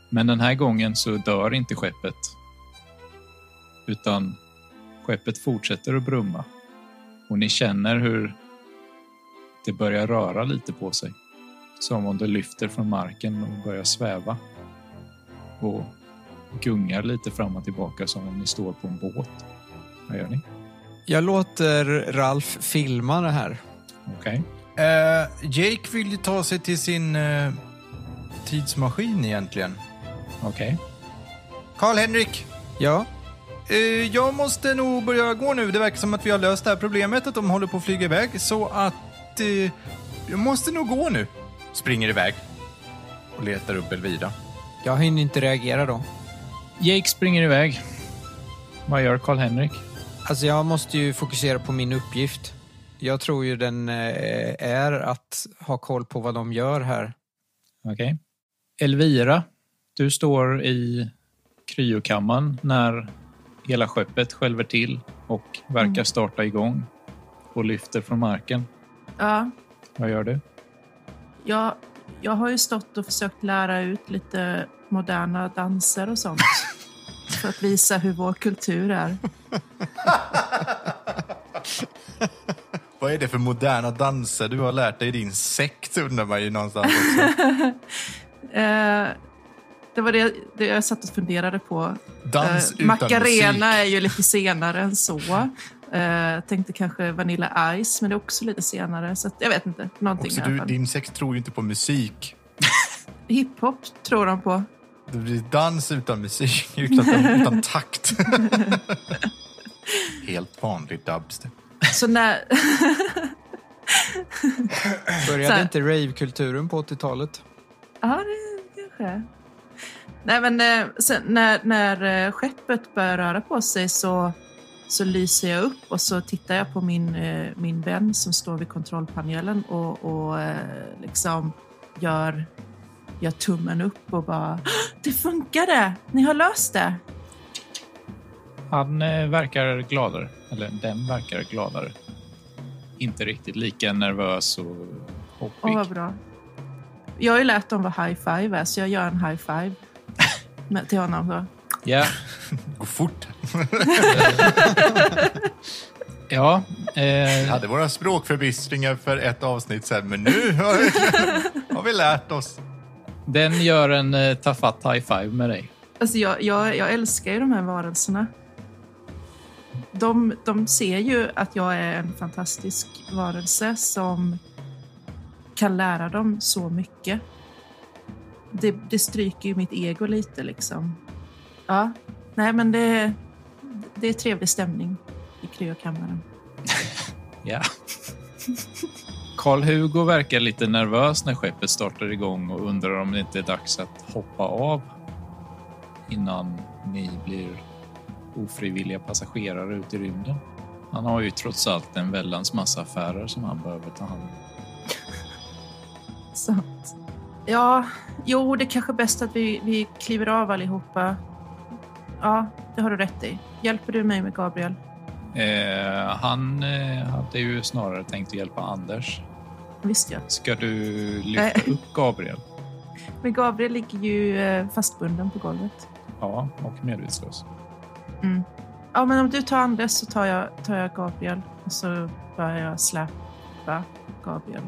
Men den här gången så dör inte skeppet. Utan skeppet fortsätter att brumma. Och ni känner hur det börjar röra lite på sig. Som om det lyfter från marken och börjar sväva. Och gungar lite fram och tillbaka som om ni står på en båt. Vad gör ni? Jag låter Ralf filma det här. Okej. Eh, Jake vill ju ta sig till sin eh, tidsmaskin egentligen. Okej. Karl-Henrik, Ja, eh, jag måste nog börja gå nu. Det verkar som att vi har löst det här problemet, att de håller på att flyga iväg. Så att eh, jag måste nog gå nu. Springer iväg och letar upp Elvira. jag hinner inte reagera då. Jake springer iväg. Vad gör Karl-Henrik? Alltså jag måste ju fokusera på min uppgift. Jag tror ju den eh, är att ha koll på vad de gör här. Okej. Elvira, du står i kryokammaren när hela skeppet skälver till och verkar starta igång och lyfter från marken. Ja, Vad gör du? jag, jag har ju stått och försökt lära ut lite moderna danser och sånt. för att visa hur vår kultur är. Vad är det för moderna danser du har lärt dig i din sekt undrar man ju någonstans också. Eh, det var det, det jag satt och funderade på. Eh, Dans utan Macarena musik. är ju lite senare än så. Eh, jag tänkte kanske Vanilla Ice, men det är också lite senare. Så att, jag vet inte. Någonting Också i alla du, fall. din sekt tror ju inte på musik. Hiphop tror de på. Det blir dans utan musik, utan, utan takt. Helt vanlig dubstep. Så när... Så Började här. inte ravekulturen på 80-talet? Ja, det kanske. Nej, men eh, sen, när, när eh, skeppet börjar röra på sig så, så lyser jag upp och så tittar jag på min, eh, min vän som står vid kontrollpanelen och, och eh, liksom gör, gör tummen upp och bara Det funkade! Ni har löst det! Han eh, verkar gladare, eller den verkar gladare. Inte riktigt lika nervös och Åh, hoppig. vad bra. Jag har ju lärt dem vad high five är, så jag gör en high five med- till honom. Då. Ja, Gå fort. ja Vi eh, hade våra språkförbistringar för ett avsnitt sen, men nu har vi, har vi lärt oss. den gör en eh, tafatt high five med dig. Alltså jag, jag, jag älskar ju de här varelserna. de, de ser ju att jag är en fantastisk varelse som kan lära dem så mycket. Det, det stryker ju mitt ego lite liksom. Ja, nej men det, det är trevlig stämning i kryokammaren. Ja. Karl-Hugo verkar lite nervös när skeppet startar igång och undrar om det inte är dags att hoppa av innan ni blir ofrivilliga passagerare ute i rymden. Han har ju trots allt en väldans massa affärer som han behöver ta hand om. Sant. Ja, jo, det är kanske är bäst att vi, vi kliver av allihopa. Ja, det har du rätt i. Hjälper du mig med Gabriel? Eh, han eh, hade ju snarare tänkt att hjälpa Anders. Visst ja. Ska du lyfta Nej. upp Gabriel? Men Gabriel ligger ju eh, fastbunden på golvet. Ja, och medvetslös. Mm. Ja, men om du tar Anders så tar jag, tar jag Gabriel. Och så börjar jag släppa Gabriel.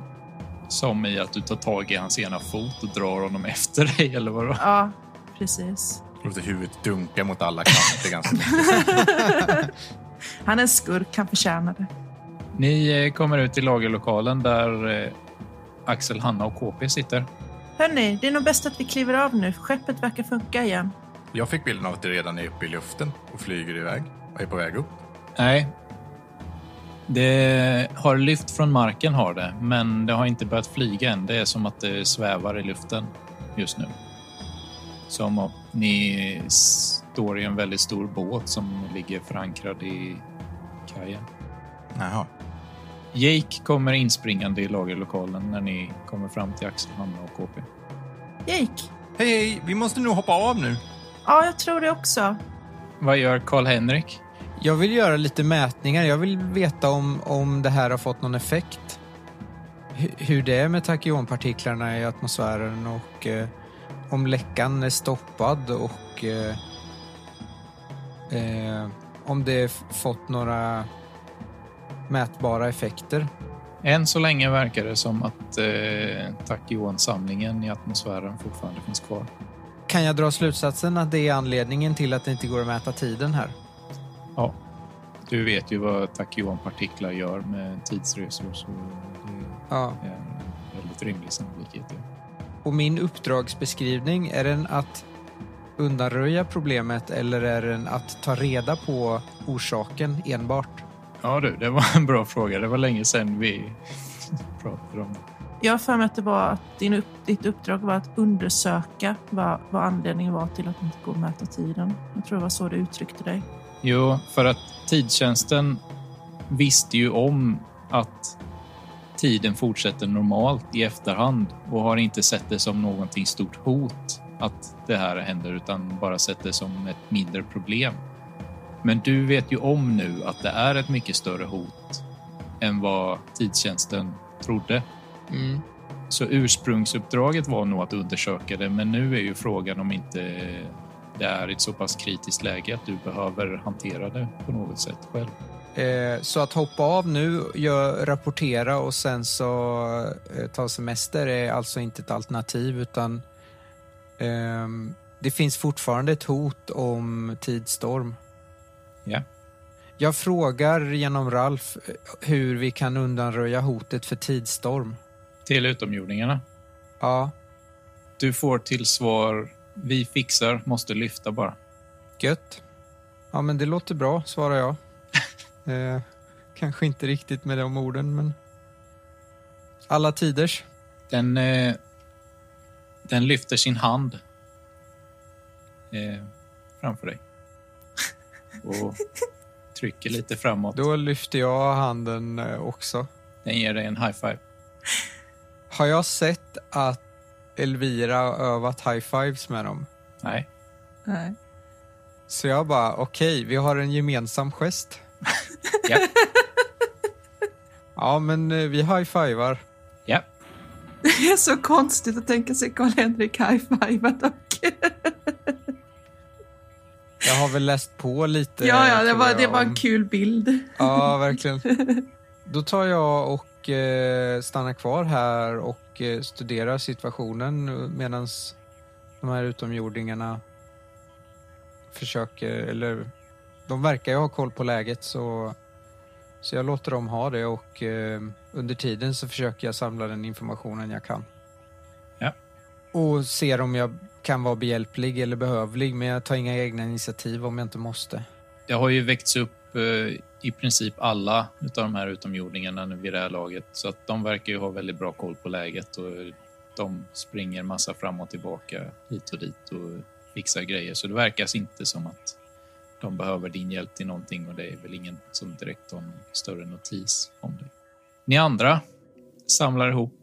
Som i att du tar tag i hans ena fot och drar honom efter dig, eller vadå? Ja, precis. Låter huvudet dunka mot alla kanter ganska mycket. Han är en skurk, han förtjänar det. Ni eh, kommer ut i lagerlokalen där eh, Axel, Hanna och KP sitter. Hörni, det är nog bäst att vi kliver av nu. Skeppet verkar funka igen. Jag fick bilden av att det redan är uppe i luften och flyger iväg och är på väg upp. Nej. Det har lyft från marken, har det, men det har inte börjat flyga än. Det är som att det svävar i luften just nu. Som om ni står i en väldigt stor båt som ligger förankrad i kajen. Jaha. Jake kommer inspringande i lagerlokalen när ni kommer fram till Axel, Hanna och KP. Jake? Hej, hej, vi måste nog hoppa av nu. Ja, jag tror det också. Vad gör Karl-Henrik? Jag vill göra lite mätningar. Jag vill veta om, om det här har fått någon effekt. Hu- hur det är med tachyonpartiklarna i atmosfären och eh, om läckan är stoppad och eh, eh, om det f- fått några mätbara effekter. Än så länge verkar det som att eh, takyonsamlingen i atmosfären fortfarande finns kvar. Kan jag dra slutsatsen att det är anledningen till att det inte går att mäta tiden här? Ja. Du vet ju vad takyonpartiklar gör med tidsresor så Ja. det är en väldigt rimlig sannolikhet. ja. Och min uppdragsbeskrivning, är den att undanröja problemet eller är den att ta reda på orsaken enbart? Ja du, det var en bra fråga. Det var länge sedan vi pratade om det. Jag har för mig att det var att din upp, ditt uppdrag var att undersöka vad, vad anledningen var till att det inte går att mäta tiden. Jag tror det var så du uttryckte dig. Jo, för att tidtjänsten visste ju om att tiden fortsätter normalt i efterhand och har inte sett det som någonting stort hot att det här händer utan bara sett det som ett mindre problem. Men du vet ju om nu att det är ett mycket större hot än vad tidtjänsten trodde. Så ursprungsuppdraget var nog att undersöka det, men nu är ju frågan om inte det är ett så pass kritiskt läge att du behöver hantera det på något sätt själv. Eh, så att hoppa av nu, gör, rapportera och sen så eh, ta semester är alltså inte ett alternativ utan ehm, det finns fortfarande ett hot om tidstorm. Ja. Jag frågar genom Ralf eh, hur vi kan undanröja hotet för tidstorm. Till utomjordingarna. Ja, Du får till svar, vi fixar, måste lyfta bara. Gött. Ja, men det låter bra, svarar jag. eh, kanske inte riktigt med de orden, men... Alla tiders. Den, eh, den lyfter sin hand eh, framför dig. Och trycker lite framåt. Då lyfter jag handen eh, också. Den ger dig en high five. Har jag sett att Elvira har övat high-fives med dem? Nej. Nej. Så jag bara, okej, vi har en gemensam gest. Ja. Ja, men eh, vi high-fivar. Ja. Det är så konstigt att tänka sig Karl-Henrik high-fiva dock. Jag har väl läst på lite. ja, ja, det tror var, jag, det var en om- kul bild. Ja, verkligen. Då tar jag och eh, stannar kvar här och eh, studerar situationen medan de här utomjordingarna försöker, eller de verkar ju ha koll på läget så, så jag låter dem ha det och eh, under tiden så försöker jag samla den informationen jag kan. Ja. Och ser om jag kan vara behjälplig eller behövlig men jag tar inga egna initiativ om jag inte måste. Det har ju väckts upp eh, i princip alla utav de här utomjordingarna nu vid det här laget så att de verkar ju ha väldigt bra koll på läget och de springer massa fram och tillbaka hit och dit och fixar grejer så det verkar inte som att de behöver din hjälp till någonting och det är väl ingen som direkt har någon större notis om det. Ni andra samlar ihop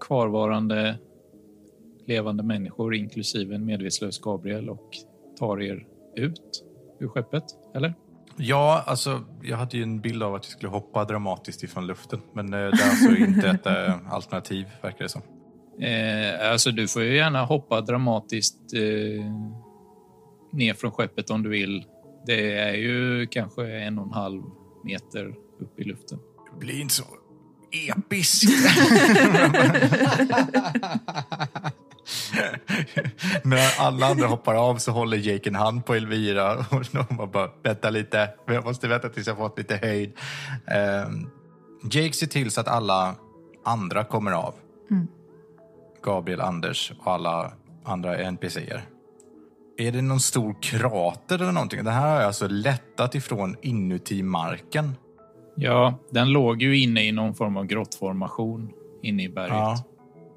kvarvarande levande människor inklusive en medvetslös Gabriel och tar er ut ur skeppet, eller? Ja, alltså jag hade ju en bild av att vi skulle hoppa dramatiskt ifrån luften. Men eh, det är alltså inte ett eh, alternativ, verkar det som. Eh, alltså du får ju gärna hoppa dramatiskt eh, ner från skeppet om du vill. Det är ju kanske en och en halv meter upp i luften. Bli inte så episk. Medan alla andra hoppar av så håller Jake en hand på Elvira och de bara vänta lite, jag måste vänta tills jag fått lite höjd. Ehm, Jake ser till så att alla andra kommer av. Gabriel, Anders och alla andra NPCer. Är det någon stor krater eller någonting? Det här har jag alltså lättat ifrån inuti marken. Ja, den låg ju inne i någon form av grottformation inne i berget. Ja.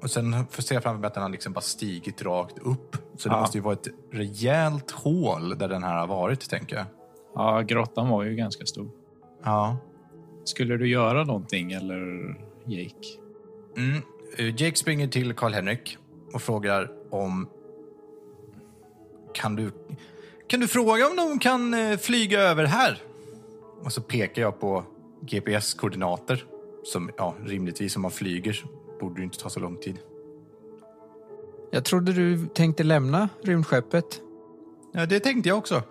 Och sen får se framför mig att den har liksom bara stigit rakt upp. Så det Ja. måste ju vara ett rejält hål där den här har varit, tänker jag. ja, grottan var ju ganska stor. Ja. Skulle du göra någonting eller Jake? Mm. Eh, Jake springer till Karl-Henrik och frågar om... Kan du, kan du fråga om de kan eh, flyga över här? Och så pekar jag på GPS-koordinater. Som ja, rimligtvis om man flyger borde det ju inte ta så lång tid. Jag trodde du tänkte lämna rymdskeppet. Ja, det tänkte jag också.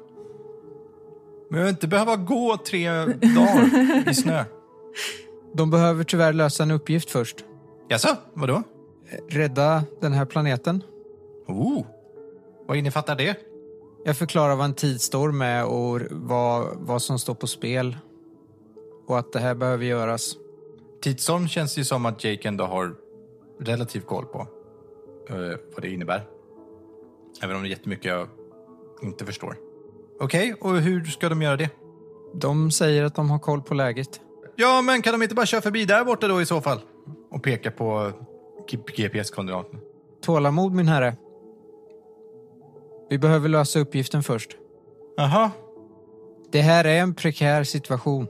Men jag vill inte behöva gå tre dagar i snö. De behöver tyvärr lösa en uppgift först. Jaså, vadå? Rädda den här planeten. Oh, vad innefattar det? Jag förklarar vad en tidsstorm är och vad, vad som står på spel. Och att det här behöver göras. Tidsorm känns det ju som att Jake ändå har relativt koll på eh, vad det innebär. Även om det är jättemycket jag inte förstår. Okej, och hur ska de göra det? De säger att de har koll på läget. Ja, men kan de inte bara köra förbi där borta då i så fall? Och peka på GPS-koordinaterna. Tålamod min herre. Vi behöver lösa uppgiften först. Aha. Det här är en prekär situation.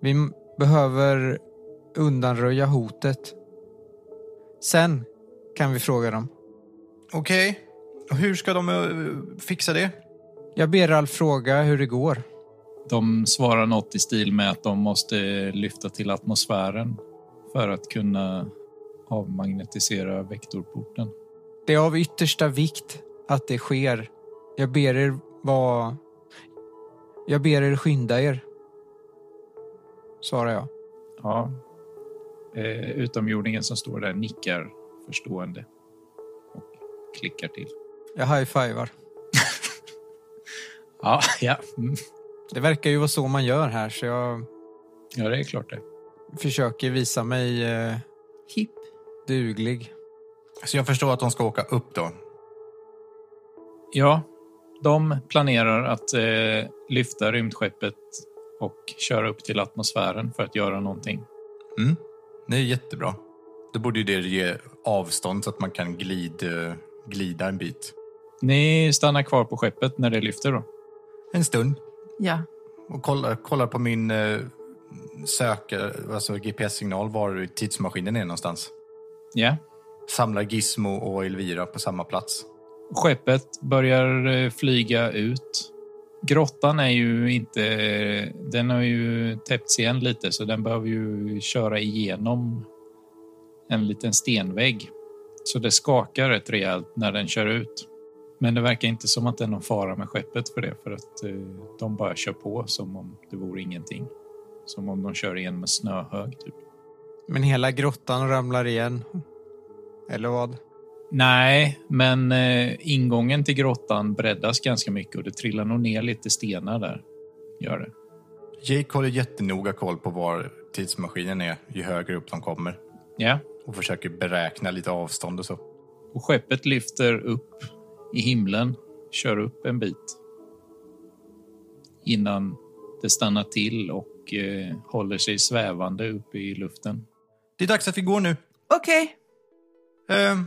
Vi m- behöver undanröja hotet. Sen kan vi fråga dem. Okej. Och hur ska de eh, fixa det? Jag ber Ralf fråga hur det går. De svarar något i stil med att de måste lyfta till atmosfären för att kunna avmagnetisera vektorporten. Det är av yttersta vikt att det sker. Jag ber er vara... Jag ber er skynda er. Svarar jag. Ja. Eh, utomjordingen som står där nickar förstående och klickar till. Jag high-fivar. Ja, ja. Mm. Det verkar ju vara så man gör här så jag ja det är klart det. försöker visa mig eh, Hipp. duglig. Så jag förstår att de ska åka upp då. Ja, de planerar att eh, lyfta rymdskeppet och köra upp till atmosfären för att göra någonting. Mm. Det är jättebra. Då borde ju det ge avstånd så att man kan glid, eh, glida en bit. Ni stannar kvar på skeppet när det lyfter då? En stund. Ja. Och kollar, kollar på min eh, sök, eh, alltså GPS-signal var tidsmaskinen är någonstans. Ja. Samlar Gizmo och Elvira på samma plats. Skeppet börjar eh, flyga ut. Grottan är ju inte... Den har ju täppts igen lite så den behöver ju köra igenom en liten stenvägg. Så det skakar rätt rejält när den kör ut. Men det verkar inte som att det är någon fara med skeppet för det för att eh, de bara kör på som om det vore ingenting. Som om de kör igenom en snöhög. Typ. Men hela grottan ramlar igen. Eller vad? Nej, men eh, ingången till grottan breddas ganska mycket och det trillar nog ner lite stenar där. Gör det. Jake håller jättenoga koll på var tidsmaskinen är ju högre upp de kommer Ja. och försöker beräkna lite avstånd och så. Och skeppet lyfter upp i himlen, kör upp en bit. Innan det stannar till och eh, håller sig svävande uppe i luften. Det är dags att vi går nu. Okej. Ehm.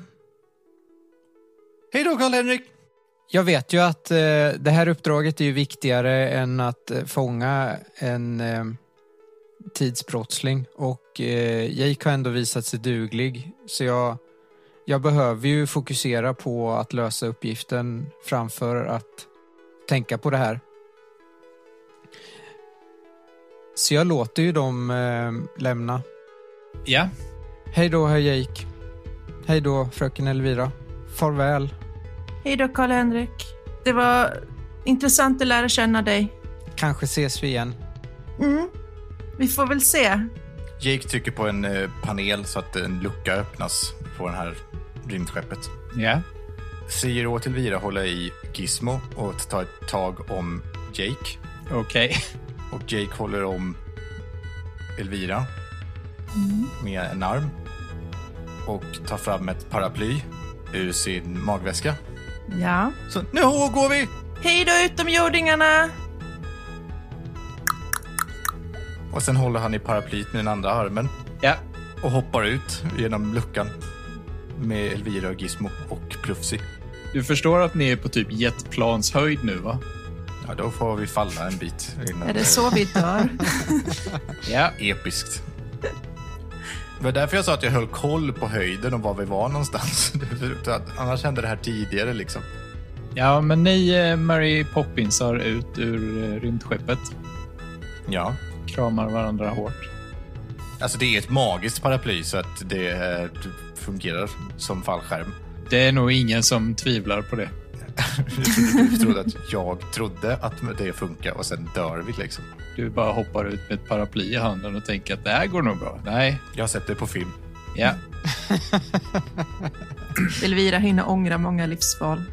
Hej då, Karl-Henrik! Jag vet ju att eh, det här uppdraget är ju viktigare än att eh, fånga en eh, tidsbrottsling och eh, Jake har ändå visat sig duglig så jag, jag behöver ju fokusera på att lösa uppgiften framför att tänka på det här. Så jag låter ju dem eh, lämna. Ja, Hej då, herr Jake. Hej då, fröken Elvira. Farväl. Hej då, Karl-Henrik. Det var intressant att lära känna dig. Kanske ses vi igen. Mm. Vi får väl se. Jake trycker på en eh, panel så att en lucka öppnas på det här rymdskeppet. ja. Säger åt Elvira hålla i Gizmo och ta ett tag om Jake. Okej. Och Jake håller om Elvira med en arm. Och tar fram ett paraply ur sin magväska. Ja. Så nu går vi! Hej då, utomjordingarna! Och sen håller han i paraplyet med den andra armen Ja. och hoppar ut genom luckan med Elvira och Gizmo och Plufsi. Du förstår att ni är på typ jetplanshöjd nu, va? Ja, då får vi falla en bit innan. Är det så vi dör? Ja. episkt. Det var därför jag sa att jag höll koll på höjden och var vi var någonstans. Så att- Annars hände det här tidigare liksom. Ja, men ni eh, Mary Poppinsar ut ur eh, rymdskeppet. Ja. Kramar varandra hårt. Alltså det är ett magiskt paraply så att det eh, fungerar som fallskärm. Det är nog ingen som tvivlar på det. Du trodde att jag trodde att det funkar och sen dör vi liksom. Du bara hoppar ut med ett paraply i handen och tänker att det här går nog bra. Nej. Jag har sett det på film. Ja. Elvira hinner ångra många livsval.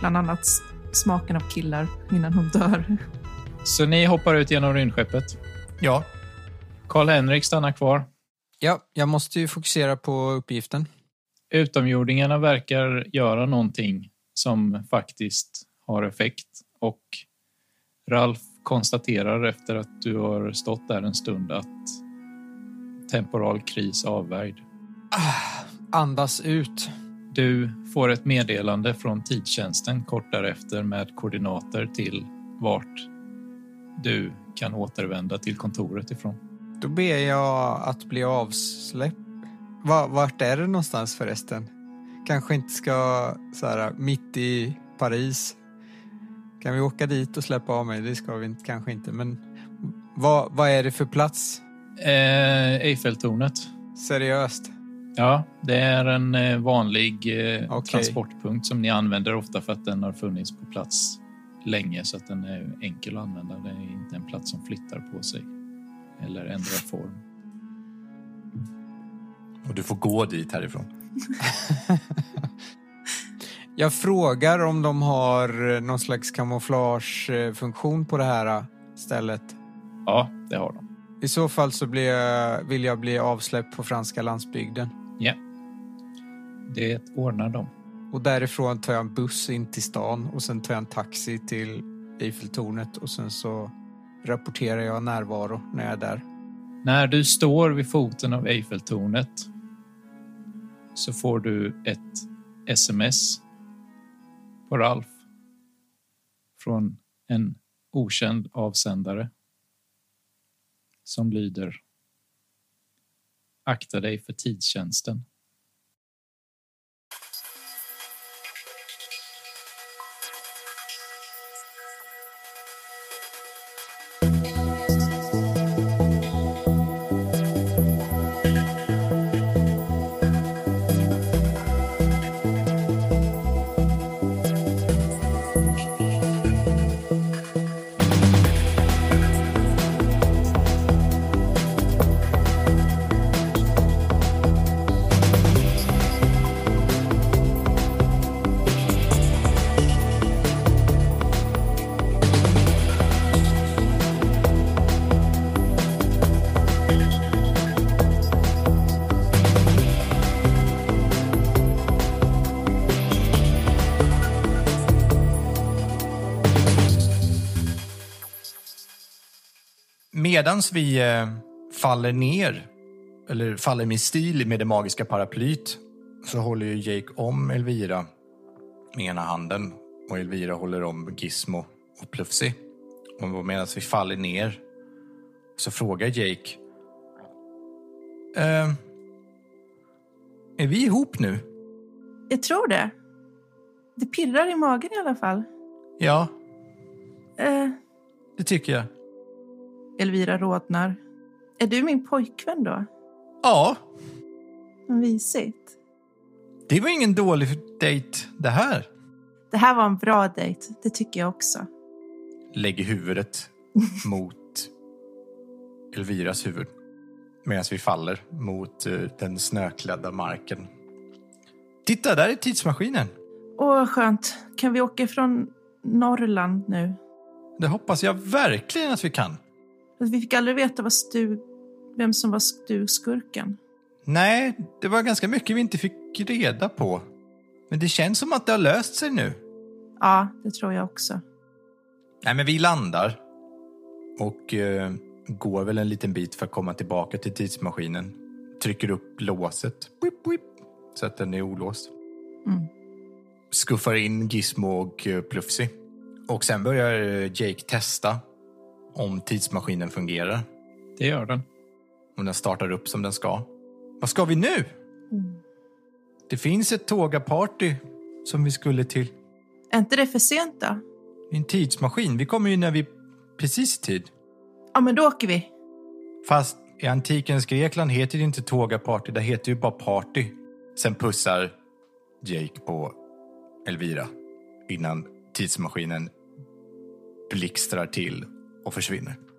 Bland annat s- smaken av killar innan hon dör. Så ni hoppar ut genom rymdskeppet. Ja, Karl-Henrik stannar kvar. Ja, jag måste ju fokusera på uppgiften. Utomjordingarna verkar göra någonting som faktiskt har effekt och Ralf konstaterar efter att du har stått där en stund att temporal kris avvärjd. Andas ut. Du får ett meddelande från tidtjänsten kort därefter med koordinater till vart du kan återvända till kontoret ifrån. Då ber jag att bli avsläppt. Va, vart är det någonstans förresten? Kanske inte ska så här mitt i Paris. Kan vi åka dit och släppa av mig? Det ska vi inte, kanske inte, men vad, vad är det för plats? Eh, Eiffeltornet. Seriöst? Ja, det är en eh, vanlig eh, Okej. transportpunkt som ni använder ofta för att den har funnits på plats länge så att den är enkel att använda. Det är inte en plats som flyttar på sig eller ändrar form. och du får gå dit härifrån. Jag frågar om de har eh, någon slags kamouflagefunktion på det här eh, stället. Ja, det har de. I så fall så blir jag, vill jag bli avsläppt på franska landsbygden. Det ordnar de. Och därifrån tar jag en buss in till stan och sen tar jag en taxi till Eiffeltornet och sen så rapporterar jag närvaro när jag är där. När du står vid foten av Eiffeltornet så får du ett sms på Ralf från en okänd avsändare som lyder Akta dig för tidstjänsten. Medans vi eh, faller ner, eller faller med stil med det magiska paraplyt, så håller ju Jake om Elvira med ena handen och Elvira håller om Gizmo och Plufsy. Och medan vi faller ner så frågar Jake... Eh, är vi ihop nu? Jag tror det. Det pirrar i magen i alla fall. Ja, Eh, det tycker jag. Elvira rodnar. Är du min pojkvän då? Ja, Vad Mysigt. det var ingen dålig dejt det här. Det här var en bra dejt. Det tycker jag också. lägger huvudet mot Elviras huvud medan vi faller mot eh, den snöklädda marken. Titta, där är tidsmaskinen. Åh, skönt. Kan vi åka från Norrland nu? Det hoppas jag verkligen att vi kan. Att Vi fick aldrig veta vad Stu, vem som var Stu-skurken. Nej, det var ganska mycket vi inte fick reda på. Men det känns som att det har löst sig nu. Ja, det tror jag också. Nej, men vi landar och eh, går väl en liten bit för att komma tillbaka till tidsmaskinen. Trycker upp låset whip, whip, så att den är olåst. Mm. Skuffar in Gizmo och eh, Plufsy. Och sen börjar eh, Jake testa om tidsmaskinen fungerar. Det gör den. Om den startar upp som den ska. Vad ska vi nu? Mm. Det finns ett tågaparty som vi skulle till. Är inte det för sent då? En tidsmaskin. Vi kommer ju när vi precis i tid. Ja, men då åker vi. Fast i antikens Grekland heter det inte tågaparty, det heter ju bara party. Sen pussar Jake på Elvira innan tidsmaskinen blixtrar till och försvinner.